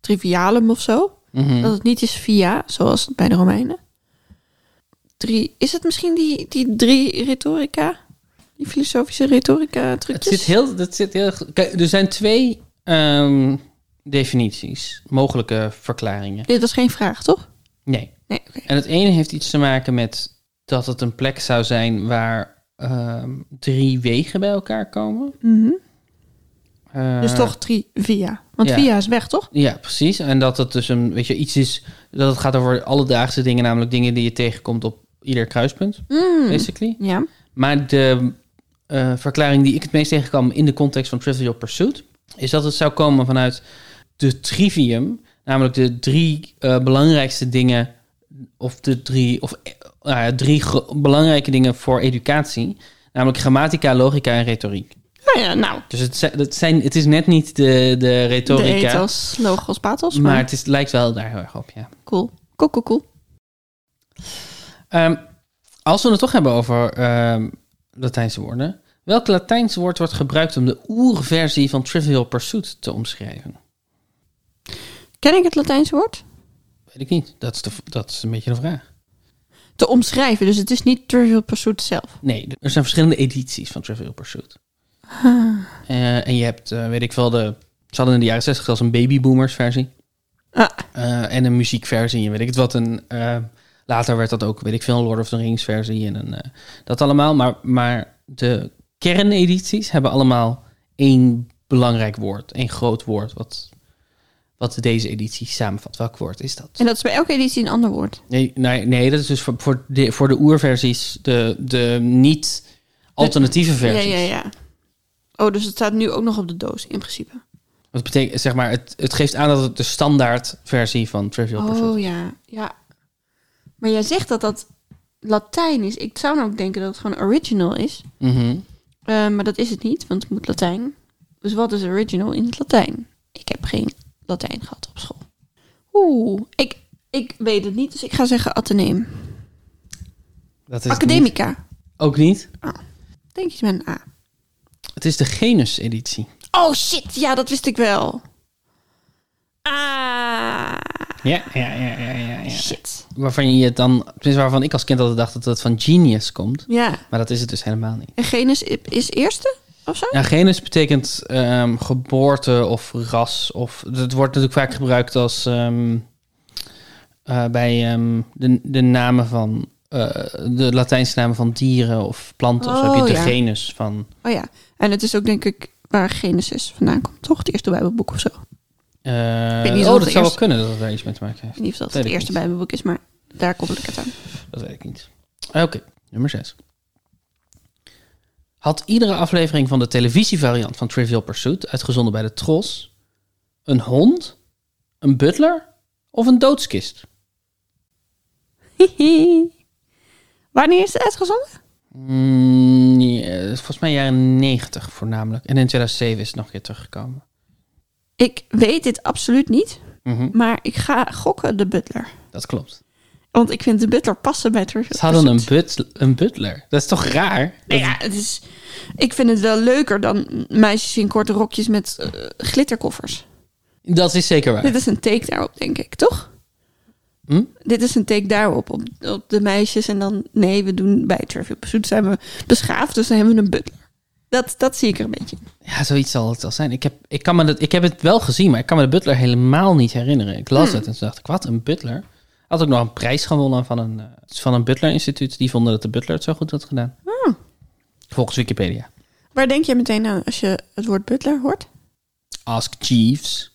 [SPEAKER 1] trivialum of zo.
[SPEAKER 2] Mhm.
[SPEAKER 1] Dat het niet is via, zoals bij de Romeinen. Drie, is het misschien die, die drie retorica? Die filosofische retorica
[SPEAKER 2] Het
[SPEAKER 1] trucjes?
[SPEAKER 2] zit heel, dat zit heel... Kijk, er zijn twee ehm, definities, mogelijke verklaringen.
[SPEAKER 1] Dit was geen vraag, toch?
[SPEAKER 2] Nee.
[SPEAKER 1] Nee, oké.
[SPEAKER 2] En het ene heeft iets te maken met dat het een plek zou zijn waar ehm, drie wegen bij elkaar komen.
[SPEAKER 1] Mhm.
[SPEAKER 2] Eh,
[SPEAKER 1] dus toch drie via. Want
[SPEAKER 2] ja.
[SPEAKER 1] via is weg, toch?
[SPEAKER 2] Ja, precies. En dat het dus een, weet je, iets is, dat het gaat over alledaagse dingen, namelijk dingen die je tegenkomt op ieder kruispunt,
[SPEAKER 1] Hmm.
[SPEAKER 2] basically.
[SPEAKER 1] Mhm. Ja.
[SPEAKER 2] Maar de eh, verklaring die ik het meest tegenkwam in de context van Trivial Pursuit, is dat het zou komen vanuit de trivium, namelijk de drie eh, belangrijkste dingen, of de drie, of eh, nou ja, drie gro- belangrijke dingen voor educatie, namelijk grammatica, logica en retoriek.
[SPEAKER 1] Nou ja, nou.
[SPEAKER 2] Dus het, zijn, het, zijn, het is net niet de, de
[SPEAKER 1] De
[SPEAKER 2] retorica.
[SPEAKER 1] ethos, logos, pathos. Maar,
[SPEAKER 2] Maar het is, lijkt wel daar heel erg op, ja.
[SPEAKER 1] cool. Cool, cool, cool.
[SPEAKER 2] Ehm, als we het toch hebben over ehm, Latijnse woorden. Welk Latijns woord wordt gebruikt om de oerversie van Trivial Pursuit te omschrijven?
[SPEAKER 1] Ken ik het Latijnse woord?
[SPEAKER 2] Weet ik niet. Dat is, de, dat is een beetje de vraag.
[SPEAKER 1] Te omschrijven, dus het is niet Trivial Pursuit zelf.
[SPEAKER 2] Nee, er zijn verschillende edities van Trivial Pursuit. Eh, en je hebt, eh, weet ik wel, de, ze hadden in de jaren 60 zelfs een babyboomers versie.
[SPEAKER 1] Ah,
[SPEAKER 2] Eh, en een muziekversie en weet ik het wat. En, eh, later werd dat ook, weet ik veel, een Lord of the Rings versie en een, eh, dat allemaal. Maar, maar de kernedities hebben allemaal één belangrijk woord, één groot woord, wat, wat deze editie samenvat. Welk woord is dat?
[SPEAKER 1] en dat is bij elke editie een ander woord.
[SPEAKER 2] Nee, nee, nee dat is dus voor, voor, de, voor de oerversies, de, de niet-alternatieve versies.
[SPEAKER 1] Ja, ja, ja. Oh, dus het staat nu ook nog op de doos in principe.
[SPEAKER 2] Dat betekent, zeg maar, het, het geeft aan dat het de standaard versie van Trivial Pursuit
[SPEAKER 1] Oh ja, ja. Maar jij zegt dat dat Latijn is. Ik zou nou ook denken dat het gewoon original is.
[SPEAKER 2] Mhm.
[SPEAKER 1] Eh, maar dat is het niet, want het moet Latijn. Dus wat is original in het Latijn? Ik heb geen Latijn gehad op school. Oeh, ik, ik weet het niet, dus ik ga zeggen ateneum.
[SPEAKER 2] Dat is het niet.
[SPEAKER 1] Academica.
[SPEAKER 2] Ook niet.
[SPEAKER 1] Denk iets met een A.
[SPEAKER 2] Het is de Genus-editie.
[SPEAKER 1] Oh shit, ja, dat wist ik wel. Ah,
[SPEAKER 2] Ja, ja, ja, ja, ja. ja.
[SPEAKER 1] shit.
[SPEAKER 2] Dus Waarvan je het dan, tenminste waarvan ik als kind altijd dacht dat het van genius komt.
[SPEAKER 1] Ja,
[SPEAKER 2] Maar dat is het dus helemaal niet.
[SPEAKER 1] en genus i- is eerste of zo?
[SPEAKER 2] Ja, genus betekent ehm, geboorte of ras. Of, het wordt natuurlijk vaak gebruikt als ehm, eh, bij ehm, de, de namen van, eh, de Latijnse namen van dieren of planten. of zo
[SPEAKER 1] Oh,
[SPEAKER 2] heb je de
[SPEAKER 1] ja.
[SPEAKER 2] genus van,
[SPEAKER 1] Oh ja, en het is ook denk ik waar Genesis vandaan komt, toch? Het eerste Bijbelboek of zo. Ik
[SPEAKER 2] eh,
[SPEAKER 1] weet niet of
[SPEAKER 2] oh,
[SPEAKER 1] het
[SPEAKER 2] dat zou wel
[SPEAKER 1] eerst-
[SPEAKER 2] kunnen dat het daar iets mee te maken heeft.
[SPEAKER 1] weet niet of dat
[SPEAKER 2] Weet
[SPEAKER 1] het
[SPEAKER 2] ik
[SPEAKER 1] eerste
[SPEAKER 2] niet.
[SPEAKER 1] Bijbelboek is, maar daar koppel ik het aan.
[SPEAKER 2] Dat weet ik niet. Oké, nummer 6. Had iedere aflevering van de televisievariant van Trivial Pursuit, uitgezonden bij de Tros, een hond, een butler of een doodskist?
[SPEAKER 1] Hihi. Wanneer is het uitgezonden?
[SPEAKER 2] Mm, ja, volgens mij jaren 90 voornamelijk. En in 2007 is het nog een keer teruggekomen.
[SPEAKER 1] Ik weet dit absoluut niet,
[SPEAKER 2] Mhm,
[SPEAKER 1] maar ik ga gokken de butler.
[SPEAKER 2] Dat klopt.
[SPEAKER 1] Want ik vind de butler passen bij Trivial
[SPEAKER 2] Ze hadden een,
[SPEAKER 1] Pursuit.
[SPEAKER 2] but een butler. Dat is toch raar?
[SPEAKER 1] Nou ja, het is, ik vind het wel leuker dan meisjes in korte rokjes met eh, glitterkoffers.
[SPEAKER 2] Dat is zeker waar.
[SPEAKER 1] Dit is een take daarop, denk ik, toch?
[SPEAKER 2] Hm?
[SPEAKER 1] Dit is een take daarop, op, op de meisjes. En dan, nee, we doen bij Trivial Pursuit zijn we beschaafd, dus dan hebben we een butler. Dat, dat zie ik er een beetje in.
[SPEAKER 2] Ja, zoiets zal het wel zijn. Ik heb, ik, kan me dat, ik heb het wel gezien, maar ik kan me de butler helemaal niet herinneren. Ik las het en toen dacht ik, wat, een butler? Had ook nog een prijs gewonnen van een, eh, van een butler-instituut. Die vonden dat de butler het zo goed had gedaan. Volgens Wikipedia.
[SPEAKER 1] Waar denk jij meteen aan als je het woord butler hoort?
[SPEAKER 2] Ask Jeeves.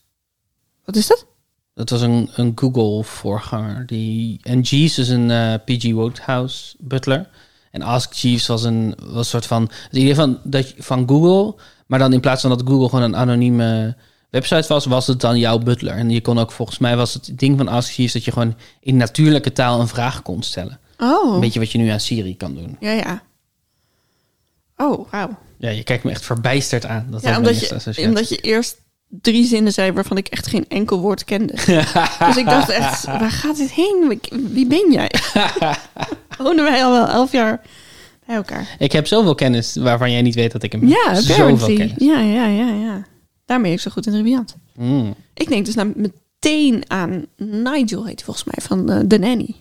[SPEAKER 1] Wat is dat?
[SPEAKER 2] Dat was een, een Google-voorganger. die En Jeeves is een eh, P.G. Wodehouse butler. En Ask Jeeves was een, was een soort van... Het idee van, dat, je- van Google, maar dan in plaats van dat Google gewoon een anonieme website was, was het dan jouw butler. En je kon ook, volgens mij was het ding van Ask Jeeves dat je gewoon in natuurlijke taal een vraag kon stellen.
[SPEAKER 1] Oh,
[SPEAKER 2] Een beetje wat je nu aan Siri kan doen.
[SPEAKER 1] ja, ja. Oh, wauw.
[SPEAKER 2] Ja, je kijkt me echt verbijsterd aan. Dat
[SPEAKER 1] Ja,
[SPEAKER 2] dat
[SPEAKER 1] omdat
[SPEAKER 2] mijn eerste
[SPEAKER 1] je,
[SPEAKER 2] associatie-
[SPEAKER 1] omdat je eerst drie zinnen zei waarvan ik echt geen enkel woord kende. dus ik dacht echt, waar gaat dit heen? Wie- Wie ben jij? Wonen wij al wel elf jaar bij elkaar?
[SPEAKER 2] Ik heb zoveel kennis waarvan jij niet weet dat ik hem heb.
[SPEAKER 1] Ja,
[SPEAKER 2] zoveel
[SPEAKER 1] apparently.
[SPEAKER 2] kennis.
[SPEAKER 1] Ja, ja, ja, ja. Daar ben ik zo goed in de Riviant.
[SPEAKER 2] Mm.
[SPEAKER 1] Ik denk dus nou meteen aan Nigel, heet hij volgens mij, van eh, The Nanny.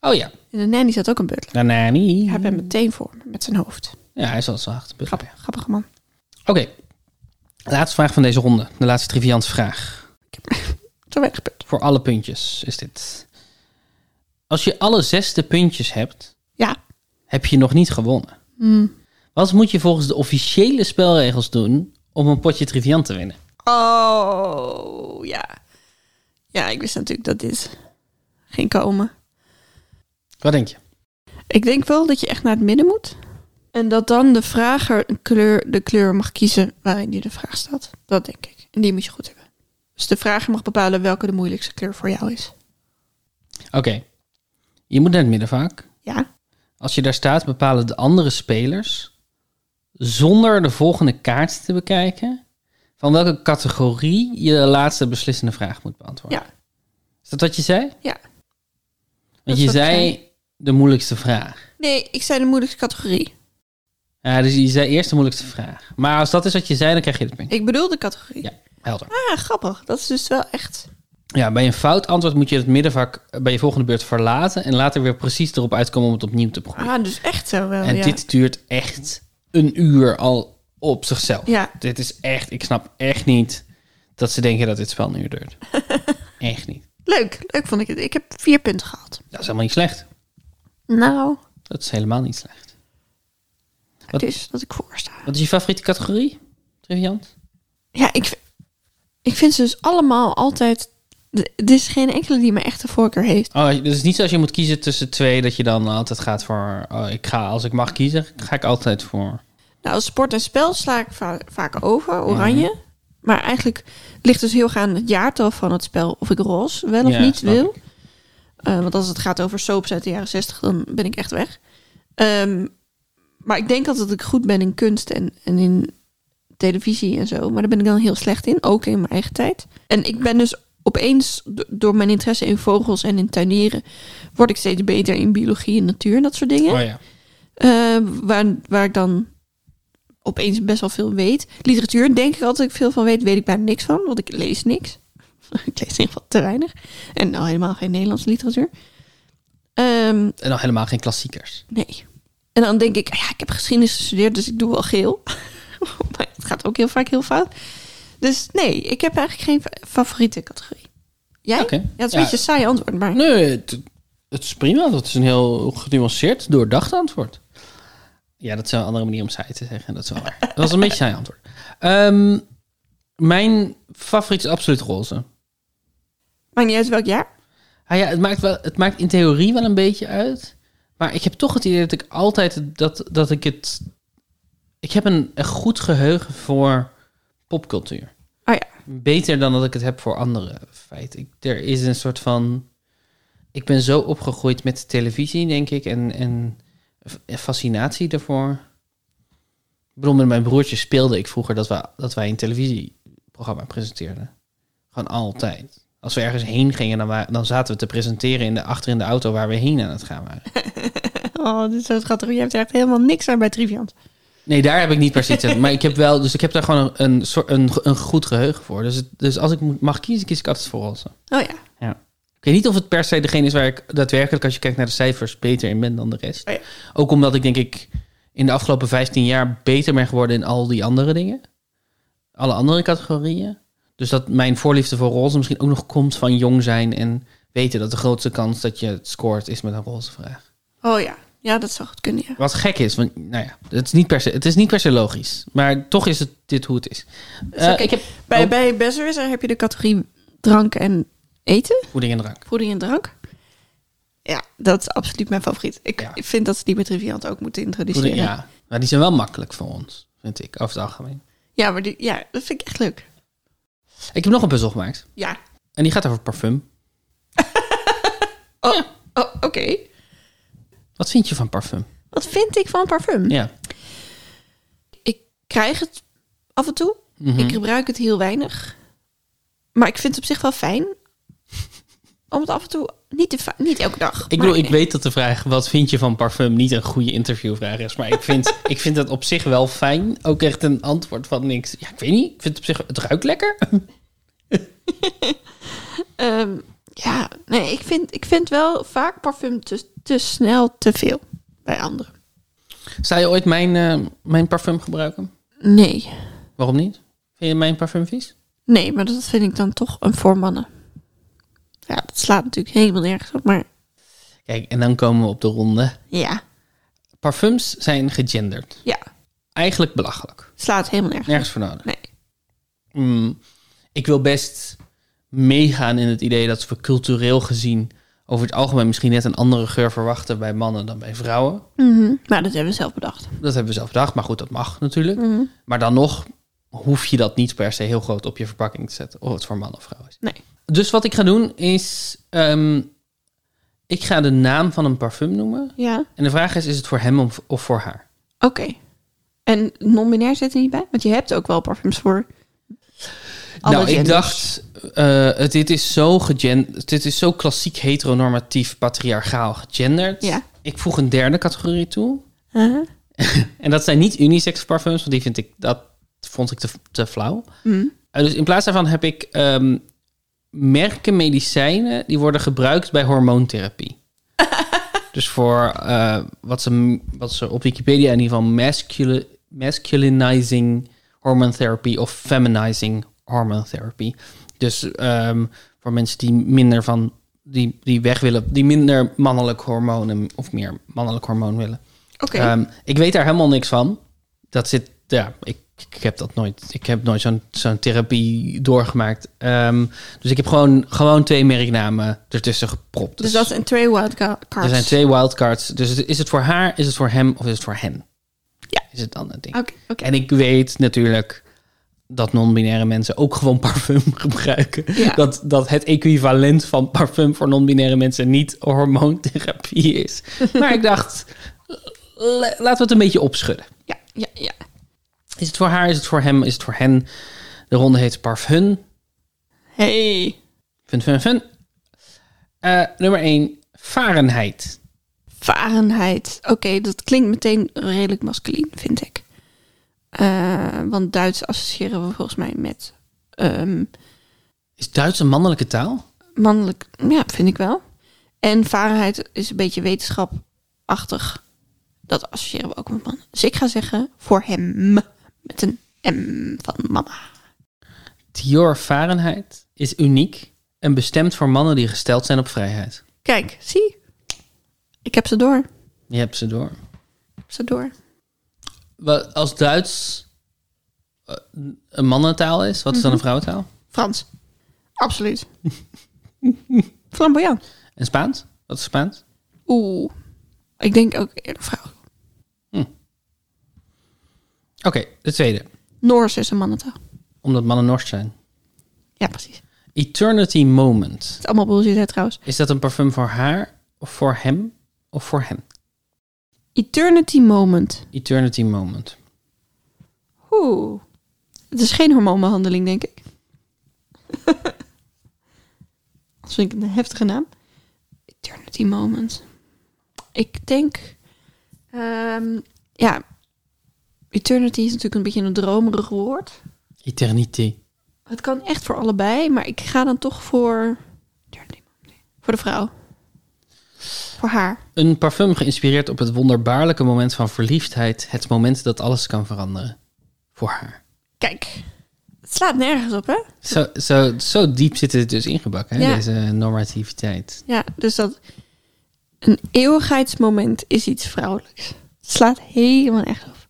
[SPEAKER 2] Oh ja,
[SPEAKER 1] In The Nanny zat ook een butler.
[SPEAKER 2] Nanani.
[SPEAKER 1] Ik heb hem meteen voor me, met zijn hoofd.
[SPEAKER 2] Ja, hij zal zo achter de butler.
[SPEAKER 1] Grappig, grappige man.
[SPEAKER 2] Oké, laatste vraag van deze ronde. De laatste triviante vraag.
[SPEAKER 1] Zo weinig butler.
[SPEAKER 2] Voor alle puntjes is dit. Als je alle zes de puntjes hebt,
[SPEAKER 1] Ja, Mm.
[SPEAKER 2] heb je nog niet gewonnen. Wat moet je volgens de officiële spelregels doen om een potje triviant te winnen?
[SPEAKER 1] Oh, ja. Ja, ik wist natuurlijk dat dit ging komen.
[SPEAKER 2] Wat denk je?
[SPEAKER 1] Ik denk wel dat je echt naar het midden moet. En dat dan de vrager een kleur, de kleur mag kiezen waarin die de vraag staat. Dat denk ik. En die moet je goed hebben. Dus de vrager mag bepalen welke de moeilijkste kleur voor jou is.
[SPEAKER 2] Oké, je moet naar het midden vaak.
[SPEAKER 1] Ja?
[SPEAKER 2] Als je daar staat, bepalen de andere spelers, zonder de volgende kaart te bekijken, van welke categorie je de laatste beslissende vraag moet beantwoorden.
[SPEAKER 1] Ja.
[SPEAKER 2] Is dat wat je zei?
[SPEAKER 1] Ja. is
[SPEAKER 2] Want je
[SPEAKER 1] wat ik
[SPEAKER 2] zei de moeilijkste vraag.
[SPEAKER 1] Nee, ik zei de moeilijkste categorie.
[SPEAKER 2] Ja, dus je zei eerst de moeilijkste vraag. Maar als dat is wat je zei, dan krijg je het punt.
[SPEAKER 1] Ik bedoel de categorie.
[SPEAKER 2] Ja, helder.
[SPEAKER 1] Ah, grappig. Dat is dus wel echt.
[SPEAKER 2] Ja, bij een fout antwoord moet je het middenvak bij je volgende beurt verlaten. En later weer precies erop uitkomen om het opnieuw te proberen.
[SPEAKER 1] Ah, dus echt zo wel.
[SPEAKER 2] en
[SPEAKER 1] ja.
[SPEAKER 2] dit duurt echt een uur al op zichzelf.
[SPEAKER 1] Ja.
[SPEAKER 2] Dit is echt, ik snap echt niet dat ze denken dat dit spel een uur duurt. echt niet.
[SPEAKER 1] Leuk, leuk vond ik het. Ik heb vier punten gehaald.
[SPEAKER 2] Dat is helemaal niet slecht.
[SPEAKER 1] Nou,
[SPEAKER 2] Dat is helemaal niet slecht. Wat-
[SPEAKER 1] het is dat ik voorsta.
[SPEAKER 2] Wat is je favoriete categorie? Triviant?
[SPEAKER 1] Ja, ik, v- ik vind ze dus allemaal altijd... d- Er is geen enkele die mijn echte voorkeur heeft.
[SPEAKER 2] Oh, dus het is niet zoals je moet kiezen tussen twee, dat je dan altijd gaat voor. Oh, ik ga, als ik mag kiezen, ga ik altijd voor.
[SPEAKER 1] Nou, als sport en spel sla ik va- vaak over, oranje. Maar eigenlijk ligt dus heel gaan het jaartal van het spel... of ik roze wel of
[SPEAKER 2] Ja,
[SPEAKER 1] niet
[SPEAKER 2] snap
[SPEAKER 1] wil.
[SPEAKER 2] ik.
[SPEAKER 1] Eh, want als het gaat over soaps uit de jaren 60, dan ben ik echt weg. Ehm, maar ik denk altijd dat ik goed ben in kunst en, en in televisie en zo. Maar daar ben ik dan heel slecht in, ook in mijn eigen tijd. En ik ben dus opeens, do- door mijn interesse in vogels en in tuinieren... word ik steeds beter in biologie en natuur en dat soort dingen.
[SPEAKER 2] Oh ja.
[SPEAKER 1] Eh, waar, waar ik dan opeens best wel veel weet. Literatuur denk ik altijd dat ik veel van weet, weet ik bijna niks van, want ik lees niks. ik lees in ieder geval te weinig. En al helemaal geen Nederlandse literatuur. Ehm,
[SPEAKER 2] En dan helemaal geen klassiekers.
[SPEAKER 1] nee. En dan denk ik, ja, ik heb geschiedenis gestudeerd, dus ik doe wel geel. maar het gaat ook heel vaak heel fout. Dus nee, ik heb eigenlijk geen fa- favoriete categorie. Jij?
[SPEAKER 2] Oké.
[SPEAKER 1] Ja, het is
[SPEAKER 2] Ja.
[SPEAKER 1] een beetje een saai antwoord, maar...
[SPEAKER 2] Nee, het, het is prima. Dat is een heel genuanceerd, doordacht antwoord. Ja, dat is wel een andere manier om saai te zeggen. Dat is wel waar. Dat was een beetje saai antwoord. Ehm, mijn favoriet is absoluut roze.
[SPEAKER 1] Maakt niet uit welk jaar.
[SPEAKER 2] Ah ja, het maakt, wel, het maakt in theorie wel een beetje uit. Maar ik heb toch het idee dat ik altijd... het- Dat, dat ik het... Ik heb een, een goed geheugen voor popcultuur.
[SPEAKER 1] Oh ja.
[SPEAKER 2] Beter dan dat ik het heb voor andere feiten. Ik, er is een soort van... Ik ben zo opgegroeid met televisie, denk ik. En, en f- fascinatie daarvoor. Ik bedoel, met mijn broertje speelde ik vroeger dat, we, dat wij een televisieprogramma presenteerden. Gewoon altijd. Als we ergens heen gingen, dan, wa- dan zaten we te presenteren in de, achter in de auto waar we heen aan het gaan waren.
[SPEAKER 1] Oh, dit is zo schattig. Je hebt er echt helemaal niks aan bij Triviant.
[SPEAKER 2] Nee, daar heb ik niet per se zin in. Maar ik heb wel, dus ik heb daar gewoon een, een, soort- een, een goed geheugen voor. Dus, het- dus als ik moet- mag kiezen, kies ik altijd voor roze.
[SPEAKER 1] Oh ja.
[SPEAKER 2] Ik weet niet of het per se degene is waar ik daadwerkelijk, als je kijkt naar de cijfers, beter in ben dan de rest.
[SPEAKER 1] Oh ja.
[SPEAKER 2] Ook omdat ik denk ik in de afgelopen 15 jaar beter ben geworden in al die andere dingen. Alle andere categorieën. Dus dat mijn voorliefde voor roze misschien ook nog komt van jong zijn en weten dat de grootste kans dat je het scoort is met een roze vraag.
[SPEAKER 1] Oh ja, ja, dat zou goed kunnen, ja.
[SPEAKER 2] Wat gek is, want nou ja, het is niet per se, het is niet per se logisch. Maar toch is het dit hoe het is. Eh,
[SPEAKER 1] oké.
[SPEAKER 2] Ik heb
[SPEAKER 1] Bij,
[SPEAKER 2] Oh.
[SPEAKER 1] bij Besserwisser heb je de categorie drank en eten.
[SPEAKER 2] voeding en drank.
[SPEAKER 1] Voeding en drank. Ja, dat is absoluut mijn favoriet. Ik
[SPEAKER 2] Ja.
[SPEAKER 1] ik vind dat ze die met Triviant ook moeten introduceren.
[SPEAKER 2] Voeding, ja. Maar die zijn wel makkelijk voor ons, vind ik, over het algemeen.
[SPEAKER 1] Ja, maar die, ja, dat vind ik echt leuk.
[SPEAKER 2] Ik heb nog een puzzel gemaakt.
[SPEAKER 1] Ja.
[SPEAKER 2] En die gaat over parfum.
[SPEAKER 1] Oh, oh, oké.
[SPEAKER 2] Wat vind je van parfum?
[SPEAKER 1] Wat vind ik van parfum?
[SPEAKER 2] Ja.
[SPEAKER 1] Ik krijg het af en toe.
[SPEAKER 2] Mhm.
[SPEAKER 1] Ik gebruik het heel weinig. Maar ik vind het op zich wel fijn. Om het af en toe niet, te va- niet elke dag.
[SPEAKER 2] Ik
[SPEAKER 1] maar-
[SPEAKER 2] bedoel, ik weet dat de vraag wat vind je van parfum niet een goede interviewvraag is. Maar ik vind, ik vind dat op zich wel fijn. Ook echt een antwoord van niks. Ja, ik weet niet. Ik vind het op zich, het ruikt lekker.
[SPEAKER 1] Ehm, ja, nee, ik vind, ik vind wel vaak parfum te, te snel te veel bij anderen.
[SPEAKER 2] Zou je ooit mijn, eh, mijn parfum gebruiken?
[SPEAKER 1] Nee.
[SPEAKER 2] Waarom niet? Vind je mijn parfum vies?
[SPEAKER 1] Nee, maar dat vind ik dan toch een voor mannen. Ja, dat slaat natuurlijk helemaal nergens op, maar
[SPEAKER 2] Kijk, en dan komen we op de ronde.
[SPEAKER 1] ja.
[SPEAKER 2] Parfums zijn gegenderd.
[SPEAKER 1] Ja,
[SPEAKER 2] Eigenlijk belachelijk.
[SPEAKER 1] slaat helemaal nergens
[SPEAKER 2] Nergens voor nodig.
[SPEAKER 1] op. Nee.
[SPEAKER 2] Mm, ik wil best meegaan in het idee dat we cultureel gezien over het algemeen misschien net een andere geur verwachten bij mannen dan bij vrouwen.
[SPEAKER 1] Mhm. Maar dat hebben we zelf bedacht.
[SPEAKER 2] Dat hebben we zelf bedacht, maar goed, dat mag natuurlijk. Maar dan nog hoef je dat niet per se heel groot op je verpakking te zetten, of het voor man of vrouw is.
[SPEAKER 1] Nee.
[SPEAKER 2] Dus wat ik ga doen is, ehm, ik ga de naam van een parfum noemen.
[SPEAKER 1] Ja,
[SPEAKER 2] En de vraag is, is het voor hem of, of voor haar?
[SPEAKER 1] oké. En non-binair zit er niet bij? Want je hebt ook wel parfums voor alle
[SPEAKER 2] nou, ik
[SPEAKER 1] genders.
[SPEAKER 2] dacht, eh, het, dit, is zo gegen- dit is zo klassiek heteronormatief patriarchaal gegenderd.
[SPEAKER 1] Ja.
[SPEAKER 2] Ik voeg een derde categorie toe.
[SPEAKER 1] Uh-huh.
[SPEAKER 2] en dat zijn niet unisex parfums, want die vind ik, dat vond ik te, te flauw.
[SPEAKER 1] Hm.
[SPEAKER 2] Eh, dus in plaats daarvan heb ik ehm, merken medicijnen die worden gebruikt bij hormoontherapie. dus voor eh, wat, ze, wat ze op Wikipedia in ieder geval masculine, masculinizing hormone therapy of feminizing hormone therapy. Dus ehm, voor mensen die minder van die, die weg willen, die minder mannelijk hormonen of meer mannelijk hormoon willen.
[SPEAKER 1] Oké.
[SPEAKER 2] Ehm, ik weet daar helemaal niks van. Dat zit, ja, ik, ik heb dat nooit, ik heb nooit zo'n zo'n therapie doorgemaakt. Ehm, dus ik heb gewoon, gewoon twee merknamen ertussen gepropt.
[SPEAKER 1] dus dat zijn twee wildcards.
[SPEAKER 2] er zijn twee wildcards. Dus het- is het voor haar, is het voor hem of is het voor hen?
[SPEAKER 1] Ja.
[SPEAKER 2] Is het dan een ding?
[SPEAKER 1] Oké, oké.
[SPEAKER 2] En ik weet natuurlijk dat non-binaire mensen ook gewoon parfum gebruiken.
[SPEAKER 1] Ja.
[SPEAKER 2] Dat, dat het equivalent van parfum voor non-binaire mensen niet hormoontherapie is. Maar ik dacht, la- laten we het een beetje opschudden.
[SPEAKER 1] Ja, ja, ja.
[SPEAKER 2] Is het voor haar, is het voor hem, is het voor hen? De ronde heet Parfum.
[SPEAKER 1] Hey,
[SPEAKER 2] Fun, fun, fun. Eh, nummer 1, Fahrenheit.
[SPEAKER 1] Fahrenheit. Oké, dat klinkt meteen redelijk masculien, vind ik. Eh, want Duits associëren we volgens mij met ehm,
[SPEAKER 2] Is Duits een mannelijke taal?
[SPEAKER 1] mannelijk. Ja, vind ik wel. En Fahrenheit is een beetje wetenschapachtig. Dat associëren we ook met mannen. Dus ik ga zeggen voor hem met een M van mama.
[SPEAKER 2] Dior Fahrenheit is uniek en bestemd voor mannen die gesteld zijn op vrijheid.
[SPEAKER 1] Kijk, zie. Ik heb ze door. Ik
[SPEAKER 2] Je hebt ze door.
[SPEAKER 1] heb ze door.
[SPEAKER 2] Wel, Als Duits eh, een mannentaal is, wat is dan een vrouwentaal?
[SPEAKER 1] Frans. Absoluut. Flamboyant.
[SPEAKER 2] En Spaans? Wat is Spaans?
[SPEAKER 1] Oeh. Ik denk ook eerder vrouw.
[SPEAKER 2] Oké, de tweede.
[SPEAKER 1] Noors is een mannentaal.
[SPEAKER 2] Omdat mannen Noors zijn.
[SPEAKER 1] Ja, precies. Het
[SPEAKER 2] Eternity Moment.
[SPEAKER 1] is allemaal bullshit hè, trouwens.
[SPEAKER 2] Is dat een parfum voor haar of voor hem of voor hen?
[SPEAKER 1] Eternity moment.
[SPEAKER 2] Eternity Moment.
[SPEAKER 1] Oeh. Het is geen hormoonbehandeling, denk ik. Dat vind ik een heftige naam. Eternity moment. Ik denk... ehm, ja. Eternity is natuurlijk een beetje een dromerig woord.
[SPEAKER 2] Eternité.
[SPEAKER 1] Het kan echt voor allebei, maar ik ga dan toch voor. Voor de vrouw. Voor haar.
[SPEAKER 2] Een parfum geïnspireerd op het wonderbaarlijke moment van verliefdheid. Het moment dat alles kan veranderen. Voor haar.
[SPEAKER 1] Kijk, het slaat nergens op, hè?
[SPEAKER 2] Zo, zo, zo diep zit het dus ingebakken, hè?
[SPEAKER 1] Ja.
[SPEAKER 2] deze normativiteit.
[SPEAKER 1] Ja, dus dat. Een eeuwigheidsmoment is iets vrouwelijks. Het slaat helemaal echt op.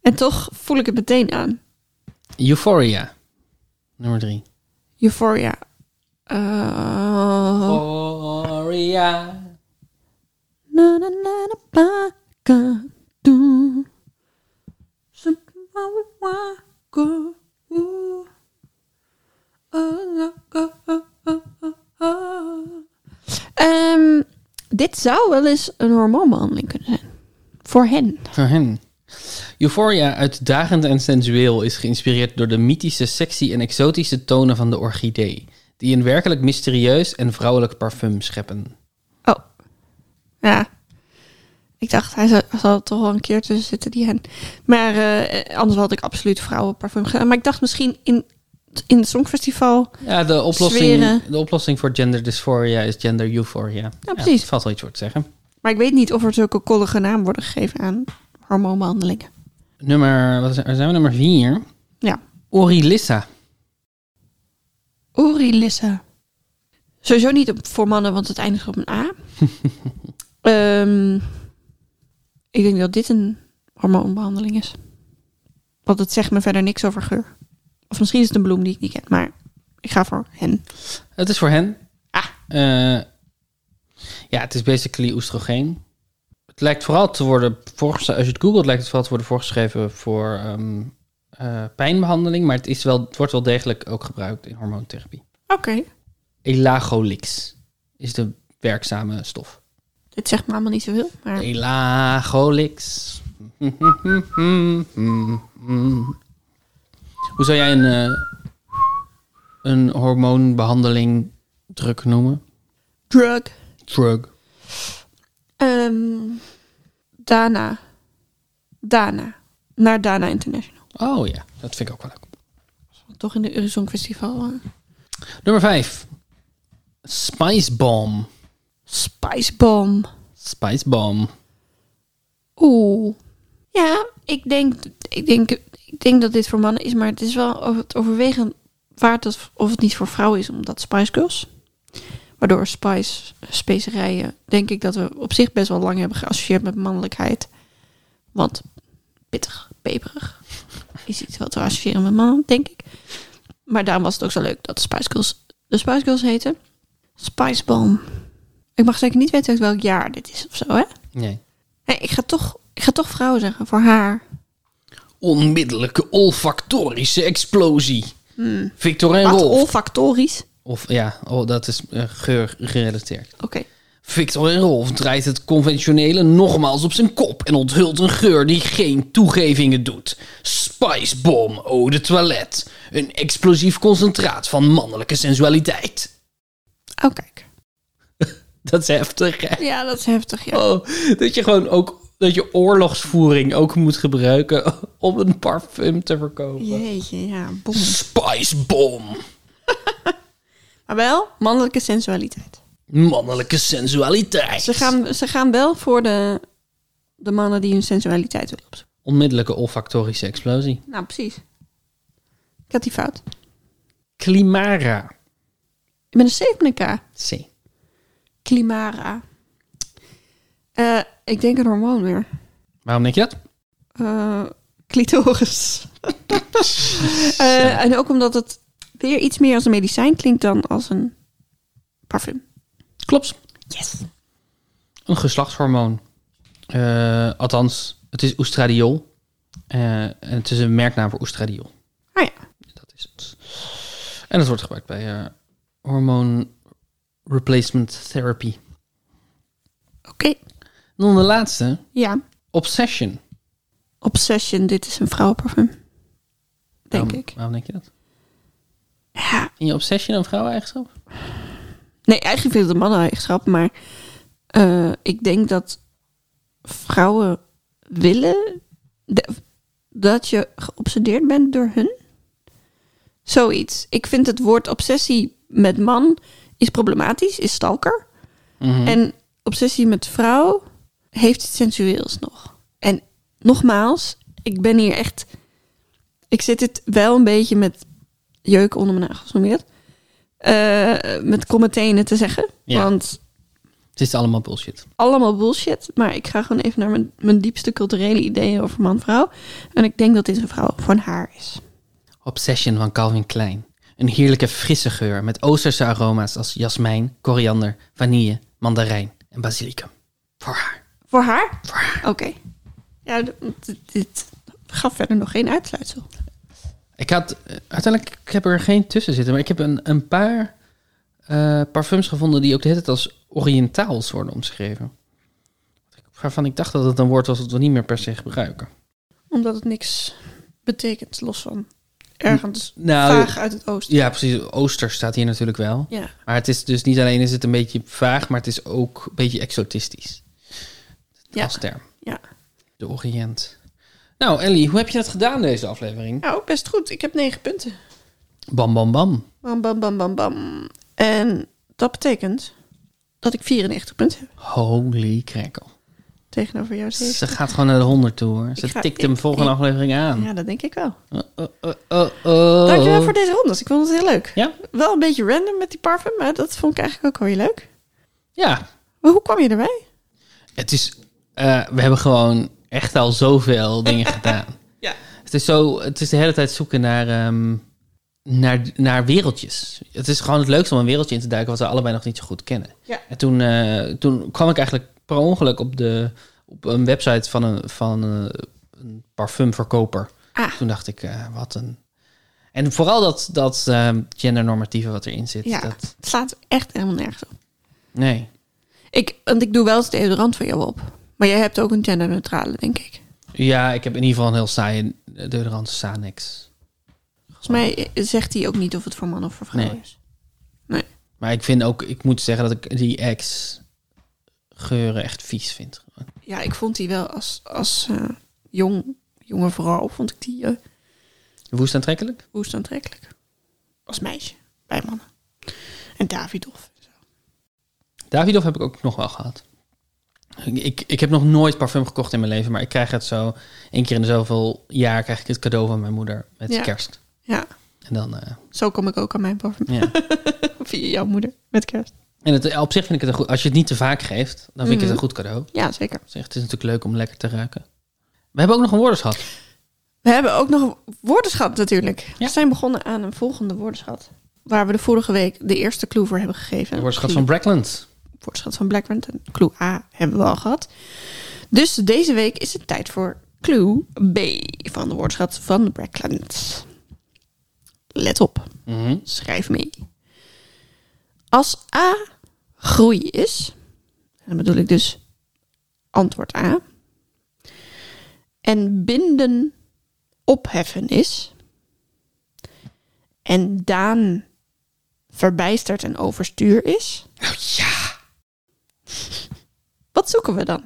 [SPEAKER 1] En toch voel ik het meteen aan.
[SPEAKER 2] Euphoria. Nummer drie.
[SPEAKER 1] Euphoria. Eh,
[SPEAKER 2] Oh. Euphoria.
[SPEAKER 1] Na, na, na, na, pa, ka, do. Ze- wa, wa, wa, ko, oe. Oh, na, ko, oh, oh, oh, oh. Ehm, dit zou wel eens een hormoonbehandeling kunnen zijn. Voor hen.
[SPEAKER 2] Voor hen. Euphoria, uitdagend en sensueel, is geïnspireerd door de mythische, sexy en exotische tonen van de orchidee. Die een werkelijk mysterieus en vrouwelijk parfum scheppen.
[SPEAKER 1] Oh. Ja. Ik dacht, hij zou- zal er toch wel een keer tussen zitten, die hen. Maar eh, anders had ik absoluut vrouwenparfum gedaan. Maar ik dacht misschien in, in het Songfestival...
[SPEAKER 2] Ja, de oplossing,
[SPEAKER 1] Sferen.
[SPEAKER 2] de oplossing voor gender dysphoria is gender euphoria. Ja,
[SPEAKER 1] precies.
[SPEAKER 2] er valt wel iets voor te zeggen.
[SPEAKER 1] Maar ik weet niet of er zulke koddige naam worden gegeven aan hormoonbehandelingen.
[SPEAKER 2] Nummer, wat is- er zijn we nummer vier.
[SPEAKER 1] Ja.
[SPEAKER 2] Orilissa.
[SPEAKER 1] Orilissa. Sowieso niet op- voor mannen, want het eindigt op een A. Ehm, ik denk dat dit een hormoonbehandeling is. Want het zegt me verder niks over geur. Of misschien is het een bloem die ik niet ken, maar ik ga voor hen.
[SPEAKER 2] Het is voor hen.
[SPEAKER 1] Ah.
[SPEAKER 2] Eh, ja, het is basically oestrogeen. Het lijkt vooral te worden, voorges- als je het googelt, lijkt het vooral te worden voorgeschreven voor ehm, eh, pijnbehandeling. Maar het, is wel, het wordt wel degelijk ook gebruikt in hormoontherapie.
[SPEAKER 1] Oké.
[SPEAKER 2] Elagolix is de werkzame stof.
[SPEAKER 1] Dit zegt me allemaal niet zoveel, maar...
[SPEAKER 2] Elagolix. Hoe zou jij een, eh, een hormoonbehandeling druk noemen?
[SPEAKER 1] Drug.
[SPEAKER 2] Drug.
[SPEAKER 1] Ehm, daarna. Dana. Naar Dana International.
[SPEAKER 2] Oh ja, dat vind ik ook wel leuk.
[SPEAKER 1] Toch in de Eurozone Festival. eh.
[SPEAKER 2] Nummer 5. Spice Bomb.
[SPEAKER 1] Spice Bomb.
[SPEAKER 2] Spice Bomb.
[SPEAKER 1] Oeh. Ja, ik denk, ik, denk, ik denk dat dit voor mannen is, maar het is wel over het overwegen waard dat, of het niet voor vrouwen is, omdat Spice Girls. Waardoor Spice specerijen, denk ik dat we op zich best wel lang hebben geassocieerd met mannelijkheid. Want pittig, peperig is iets wat we associëren met mannen, denk ik. Maar daarom was het ook zo leuk dat Spice Girls de Spice Girls heten. Spice Bomb. Ik mag zeker niet weten uit welk jaar dit is of zo, hè?
[SPEAKER 2] Nee.
[SPEAKER 1] Nee, ik, ga toch, ik ga toch vrouw zeggen voor haar.
[SPEAKER 2] Onmiddellijke olfactorische explosie. Hmm. Victorin
[SPEAKER 1] Wat
[SPEAKER 2] Rolf.
[SPEAKER 1] olfactorisch.
[SPEAKER 2] Of ja, oh, dat is eh, geur gerelateerd.
[SPEAKER 1] Oké.
[SPEAKER 2] Victor en Rolf draait het conventionele nogmaals op zijn kop en onthult een geur die geen toegevingen doet. Spicebom, eau de toilet. Een explosief concentraat van mannelijke sensualiteit.
[SPEAKER 1] Oh, kijk.
[SPEAKER 2] Dat is heftig, hè?
[SPEAKER 1] Ja, dat is heftig, ja.
[SPEAKER 2] Oh, dat je gewoon ook dat je oorlogsvoering ook moet gebruiken om een parfum te verkopen.
[SPEAKER 1] Jeetje, ja, bom.
[SPEAKER 2] Spicebom,
[SPEAKER 1] Maar wel mannelijke sensualiteit.
[SPEAKER 2] mannelijke sensualiteit.
[SPEAKER 1] Ze gaan, ze gaan wel voor de, de mannen die hun sensualiteit willen opzoeken.
[SPEAKER 2] Onmiddellijke olfactorische explosie.
[SPEAKER 1] Nou, precies. Ik had die fout.
[SPEAKER 2] Climara.
[SPEAKER 1] Ik ben een 7K.
[SPEAKER 2] C.
[SPEAKER 1] Climara. Eh, ik denk een hormoon weer.
[SPEAKER 2] Waarom denk je dat?
[SPEAKER 1] eh clitoris. Eh, en ook omdat het weer iets meer als een medicijn klinkt dan als een parfum.
[SPEAKER 2] Klopt.
[SPEAKER 1] Yes.
[SPEAKER 2] Een geslachtshormoon. Eh, althans, het is oestradiol. Eh, en het is een merknaam voor oestradiol.
[SPEAKER 1] Ah ja.
[SPEAKER 2] Dat is het. En dat wordt gebruikt bij eh, hormoon replacement therapy.
[SPEAKER 1] Oké.
[SPEAKER 2] En dan de laatste,
[SPEAKER 1] Ja.
[SPEAKER 2] obsession.
[SPEAKER 1] Obsession, dit is een vrouwenparfum. Denk
[SPEAKER 2] Waarom-
[SPEAKER 1] ik.
[SPEAKER 2] Waarom denk je dat?
[SPEAKER 1] Ja.
[SPEAKER 2] In je obsession een vrouweneigenschap?
[SPEAKER 1] Nee, eigenlijk vind ik het een manneneigenschap, maar eh, ik denk dat vrouwen willen de- dat je geobsedeerd bent door hun. Zoiets. Ik vind het woord obsessie met man is problematisch, is stalker.
[SPEAKER 2] Mhm.
[SPEAKER 1] En obsessie met vrouw heeft iets sensueels nog. En nogmaals, ik ben hier echt. Ik zit het wel een beetje met jeuk onder mijn nagels, noem je dat? Eh, met commentenen te zeggen.
[SPEAKER 2] Ja.
[SPEAKER 1] Want
[SPEAKER 2] Het is allemaal bullshit.
[SPEAKER 1] allemaal bullshit. Maar ik ga gewoon even naar mijn, mijn diepste culturele ideeën over man-vrouw. En ik denk dat dit een vrouw van haar is.
[SPEAKER 2] Obsession van Calvin Klein. Een heerlijke frisse geur met oosterse aroma's als jasmijn, koriander, vanille, mandarijn en basilicum. Voor haar.
[SPEAKER 1] Voor haar?
[SPEAKER 2] Voor haar.
[SPEAKER 1] Oké. Ja, d- dit, dit gaf verder nog geen uitsluitsel.
[SPEAKER 2] Ik had eh, uiteindelijk, ik heb er geen tussen zitten, maar ik heb een, een paar eh, parfums gevonden die ook de hele tijd als Oriëntaals worden omschreven. Waarvan ik dacht dat het een woord was dat we niet meer per se gebruiken.
[SPEAKER 1] Omdat het niks betekent, los van ergens
[SPEAKER 2] Nou,
[SPEAKER 1] vaag uit het oosten.
[SPEAKER 2] ja, precies. Ooster staat hier natuurlijk wel.
[SPEAKER 1] Ja.
[SPEAKER 2] Maar het is dus niet alleen is het een beetje vaag, maar het is ook een beetje exotistisch.
[SPEAKER 1] Ja.
[SPEAKER 2] Als term.
[SPEAKER 1] Ja.
[SPEAKER 2] De Oriënt. Nou, Ellie, hoe heb je dat gedaan deze aflevering?
[SPEAKER 1] Nou, best goed. Ik heb negen punten.
[SPEAKER 2] Bam, bam, bam.
[SPEAKER 1] Bam, bam, bam, bam, bam. En dat betekent dat ik 94 punten heb
[SPEAKER 2] Holy crackle.
[SPEAKER 1] tegenover jou.
[SPEAKER 2] Ze gaat gewoon naar de 100 toe hoor. Ze
[SPEAKER 1] Ik ga-
[SPEAKER 2] tikt
[SPEAKER 1] ik-
[SPEAKER 2] hem volgende
[SPEAKER 1] ik-
[SPEAKER 2] aflevering aan.
[SPEAKER 1] Ja, dat denk ik wel.
[SPEAKER 2] Oh, oh, oh, oh, oh.
[SPEAKER 1] Dankjewel voor deze rondes. Ik vond het heel leuk.
[SPEAKER 2] Ja?
[SPEAKER 1] Wel een beetje random met die parfum, maar dat vond ik eigenlijk ook wel heel leuk.
[SPEAKER 2] Ja.
[SPEAKER 1] Maar hoe kwam je erbij?
[SPEAKER 2] Het is, eh, we hebben gewoon echt al zoveel dingen gedaan.
[SPEAKER 1] Ja.
[SPEAKER 2] Het is, zo, het is de hele tijd zoeken naar, ehm, naar, naar wereldjes. Het is gewoon het leukste om een wereldje in te duiken wat we allebei nog niet zo goed kennen.
[SPEAKER 1] Ja.
[SPEAKER 2] En toen, eh, toen kwam ik eigenlijk per ongeluk op, de, op een website van een, van eh, een parfumverkoper.
[SPEAKER 1] Ah.
[SPEAKER 2] Toen dacht ik, eh, wat een... En vooral dat, dat ehm, gendernormatieve wat erin zit.
[SPEAKER 1] Ja,
[SPEAKER 2] Dat,
[SPEAKER 1] het slaat echt helemaal nergens op.
[SPEAKER 2] nee.
[SPEAKER 1] Ik, want ik doe wel eens deodorant voor jou op. Maar jij hebt ook een genderneutrale, denk ik.
[SPEAKER 2] Ja, ik heb in ieder geval een heel saaie eh, deodorant Sanex.
[SPEAKER 1] Volgens mij eh, zegt hij ook niet of het voor man of voor vrouw
[SPEAKER 2] Nee.
[SPEAKER 1] is.
[SPEAKER 2] Maar ik vind ook, ik moet zeggen dat ik die ex geuren echt vies vind.
[SPEAKER 1] Ja, ik vond die wel als, als eh, jong, jongen vooral, vond ik die eh,
[SPEAKER 2] Woest aantrekkelijk?
[SPEAKER 1] woest aantrekkelijk. Als meisje, bij mannen. En Davidoff. en zo.
[SPEAKER 2] Davidoff heb ik ook nog wel gehad. Ik, ik, ik heb nog nooit parfum gekocht in mijn leven, maar ik krijg het zo... één keer in de zoveel jaar krijg ik het cadeau van mijn moeder met
[SPEAKER 1] Ja.
[SPEAKER 2] kerst.
[SPEAKER 1] Ja,
[SPEAKER 2] En dan, eh,
[SPEAKER 1] zo kom ik ook aan mijn parfum.
[SPEAKER 2] ja.
[SPEAKER 1] Via jouw moeder, met kerst.
[SPEAKER 2] En het, op zich vind ik het een goed... Als je het niet te vaak geeft, dan vind ik het
[SPEAKER 1] Mhm.
[SPEAKER 2] een goed cadeau.
[SPEAKER 1] Ja, zeker.
[SPEAKER 2] Op zich, het is natuurlijk leuk om lekker te ruiken. We hebben ook nog een woordenschat.
[SPEAKER 1] We hebben ook nog een woordenschat natuurlijk.
[SPEAKER 2] Ja.
[SPEAKER 1] We zijn begonnen aan een volgende woordenschat. Waar we de vorige week de eerste clue voor hebben gegeven.
[SPEAKER 2] De woordenschat van Brackland.
[SPEAKER 1] woordenschat van Blackburn. En clue A hebben we al gehad. Dus deze week is het tijd voor clue B van de woordenschat van Blackland. Let op,
[SPEAKER 2] Mhm.
[SPEAKER 1] schrijf mee. Als A groei is, en dan bedoel ik dus antwoord A, en binden opheffen is, en Daan verbijsterd en overstuur is,
[SPEAKER 2] Nou ja.
[SPEAKER 1] Wat zoeken we dan?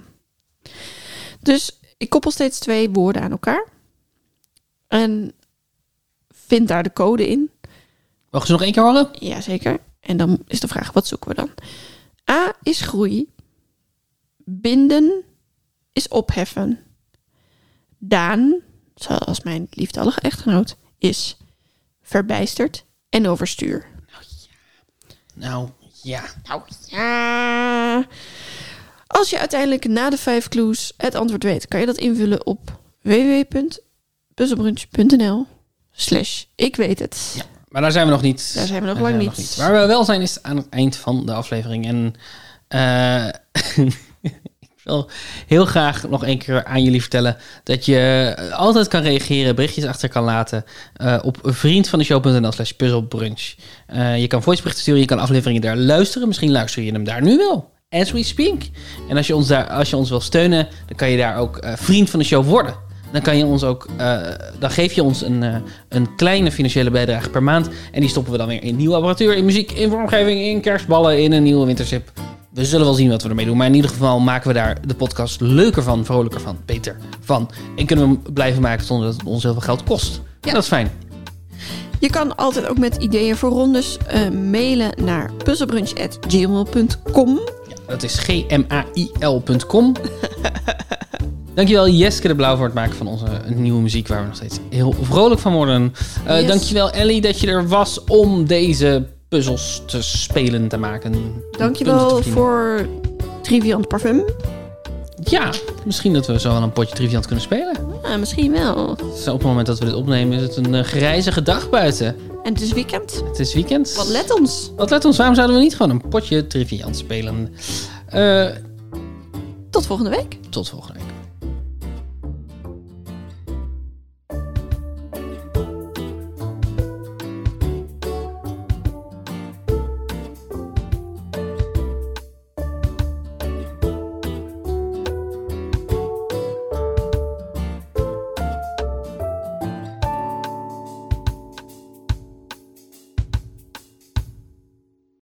[SPEAKER 1] Dus ik koppel steeds twee woorden aan elkaar. En vind daar de code in.
[SPEAKER 2] Mogen ze nog één keer horen?
[SPEAKER 1] Jazeker. En dan is de vraag, wat zoeken we dan? A is groei. Binden is opheffen. Daan, zoals mijn liefdallige echtgenoot, is verbijsterd en overstuur.
[SPEAKER 2] Nou ja.
[SPEAKER 1] Nou ja. Als je uiteindelijk na de vijf clues het antwoord weet, kan je dat invullen op www.puzzelbrunch.nl slash ik weet het.
[SPEAKER 2] Maar daar zijn we nog niet.
[SPEAKER 1] Daar zijn we nog
[SPEAKER 2] Daar
[SPEAKER 1] lang
[SPEAKER 2] zijn we
[SPEAKER 1] niet.
[SPEAKER 2] Waar we wel zijn, is aan het eind van de aflevering. En eh, ik wil heel graag nog één keer aan jullie vertellen dat je eh, altijd kan reageren, berichtjes achter kan laten eh, op vriendvandeshow.nl slash puzzelbrunch. Eh, je kan voiceberichten sturen, je kan afleveringen daar luisteren. Misschien luister je hem daar nu wel. As we speak. En als je ons, daar, als je ons wil steunen, dan kan je daar ook eh, vriend van de show worden. Dan kan je ons ook, eh, dan geef je ons een, eh, een kleine financiële bijdrage per maand. En die stoppen we dan weer in nieuwe apparatuur, in muziek, in vormgeving, in kerstballen, in een nieuwe wintersip. We zullen wel zien wat we ermee doen. Maar in ieder geval maken we daar de podcast leuker van, vrolijker van, beter van. En kunnen we hem blijven maken zonder dat het ons heel veel geld kost. Ja.
[SPEAKER 1] Ja.
[SPEAKER 2] Dat is fijn.
[SPEAKER 1] Je kan altijd ook met ideeën voor rondes eh, mailen naar puzzelbrunch.gmail.com.
[SPEAKER 2] Ja, dat is gmail.com. Dankjewel Jeske de Blauw voor het maken van onze nieuwe muziek, waar we nog steeds heel vrolijk van worden. Eh,
[SPEAKER 1] Yes.
[SPEAKER 2] Dankjewel Ellie dat je er was om deze puzzels te spelen te maken. Punten te
[SPEAKER 1] Dankjewel
[SPEAKER 2] verdienen.
[SPEAKER 1] voor Triviant Parfum.
[SPEAKER 2] Ja, misschien dat we zo wel een potje Triviant kunnen spelen.
[SPEAKER 1] Ja, misschien wel.
[SPEAKER 2] Zo, op het moment dat we dit opnemen is het een eh, grijzige dag buiten.
[SPEAKER 1] En het is weekend.
[SPEAKER 2] Het is weekend.
[SPEAKER 1] Wat let ons.
[SPEAKER 2] Wat let ons, waarom zouden we niet gewoon een potje Triviant spelen? Eh,
[SPEAKER 1] Tot volgende week.
[SPEAKER 2] tot volgende week.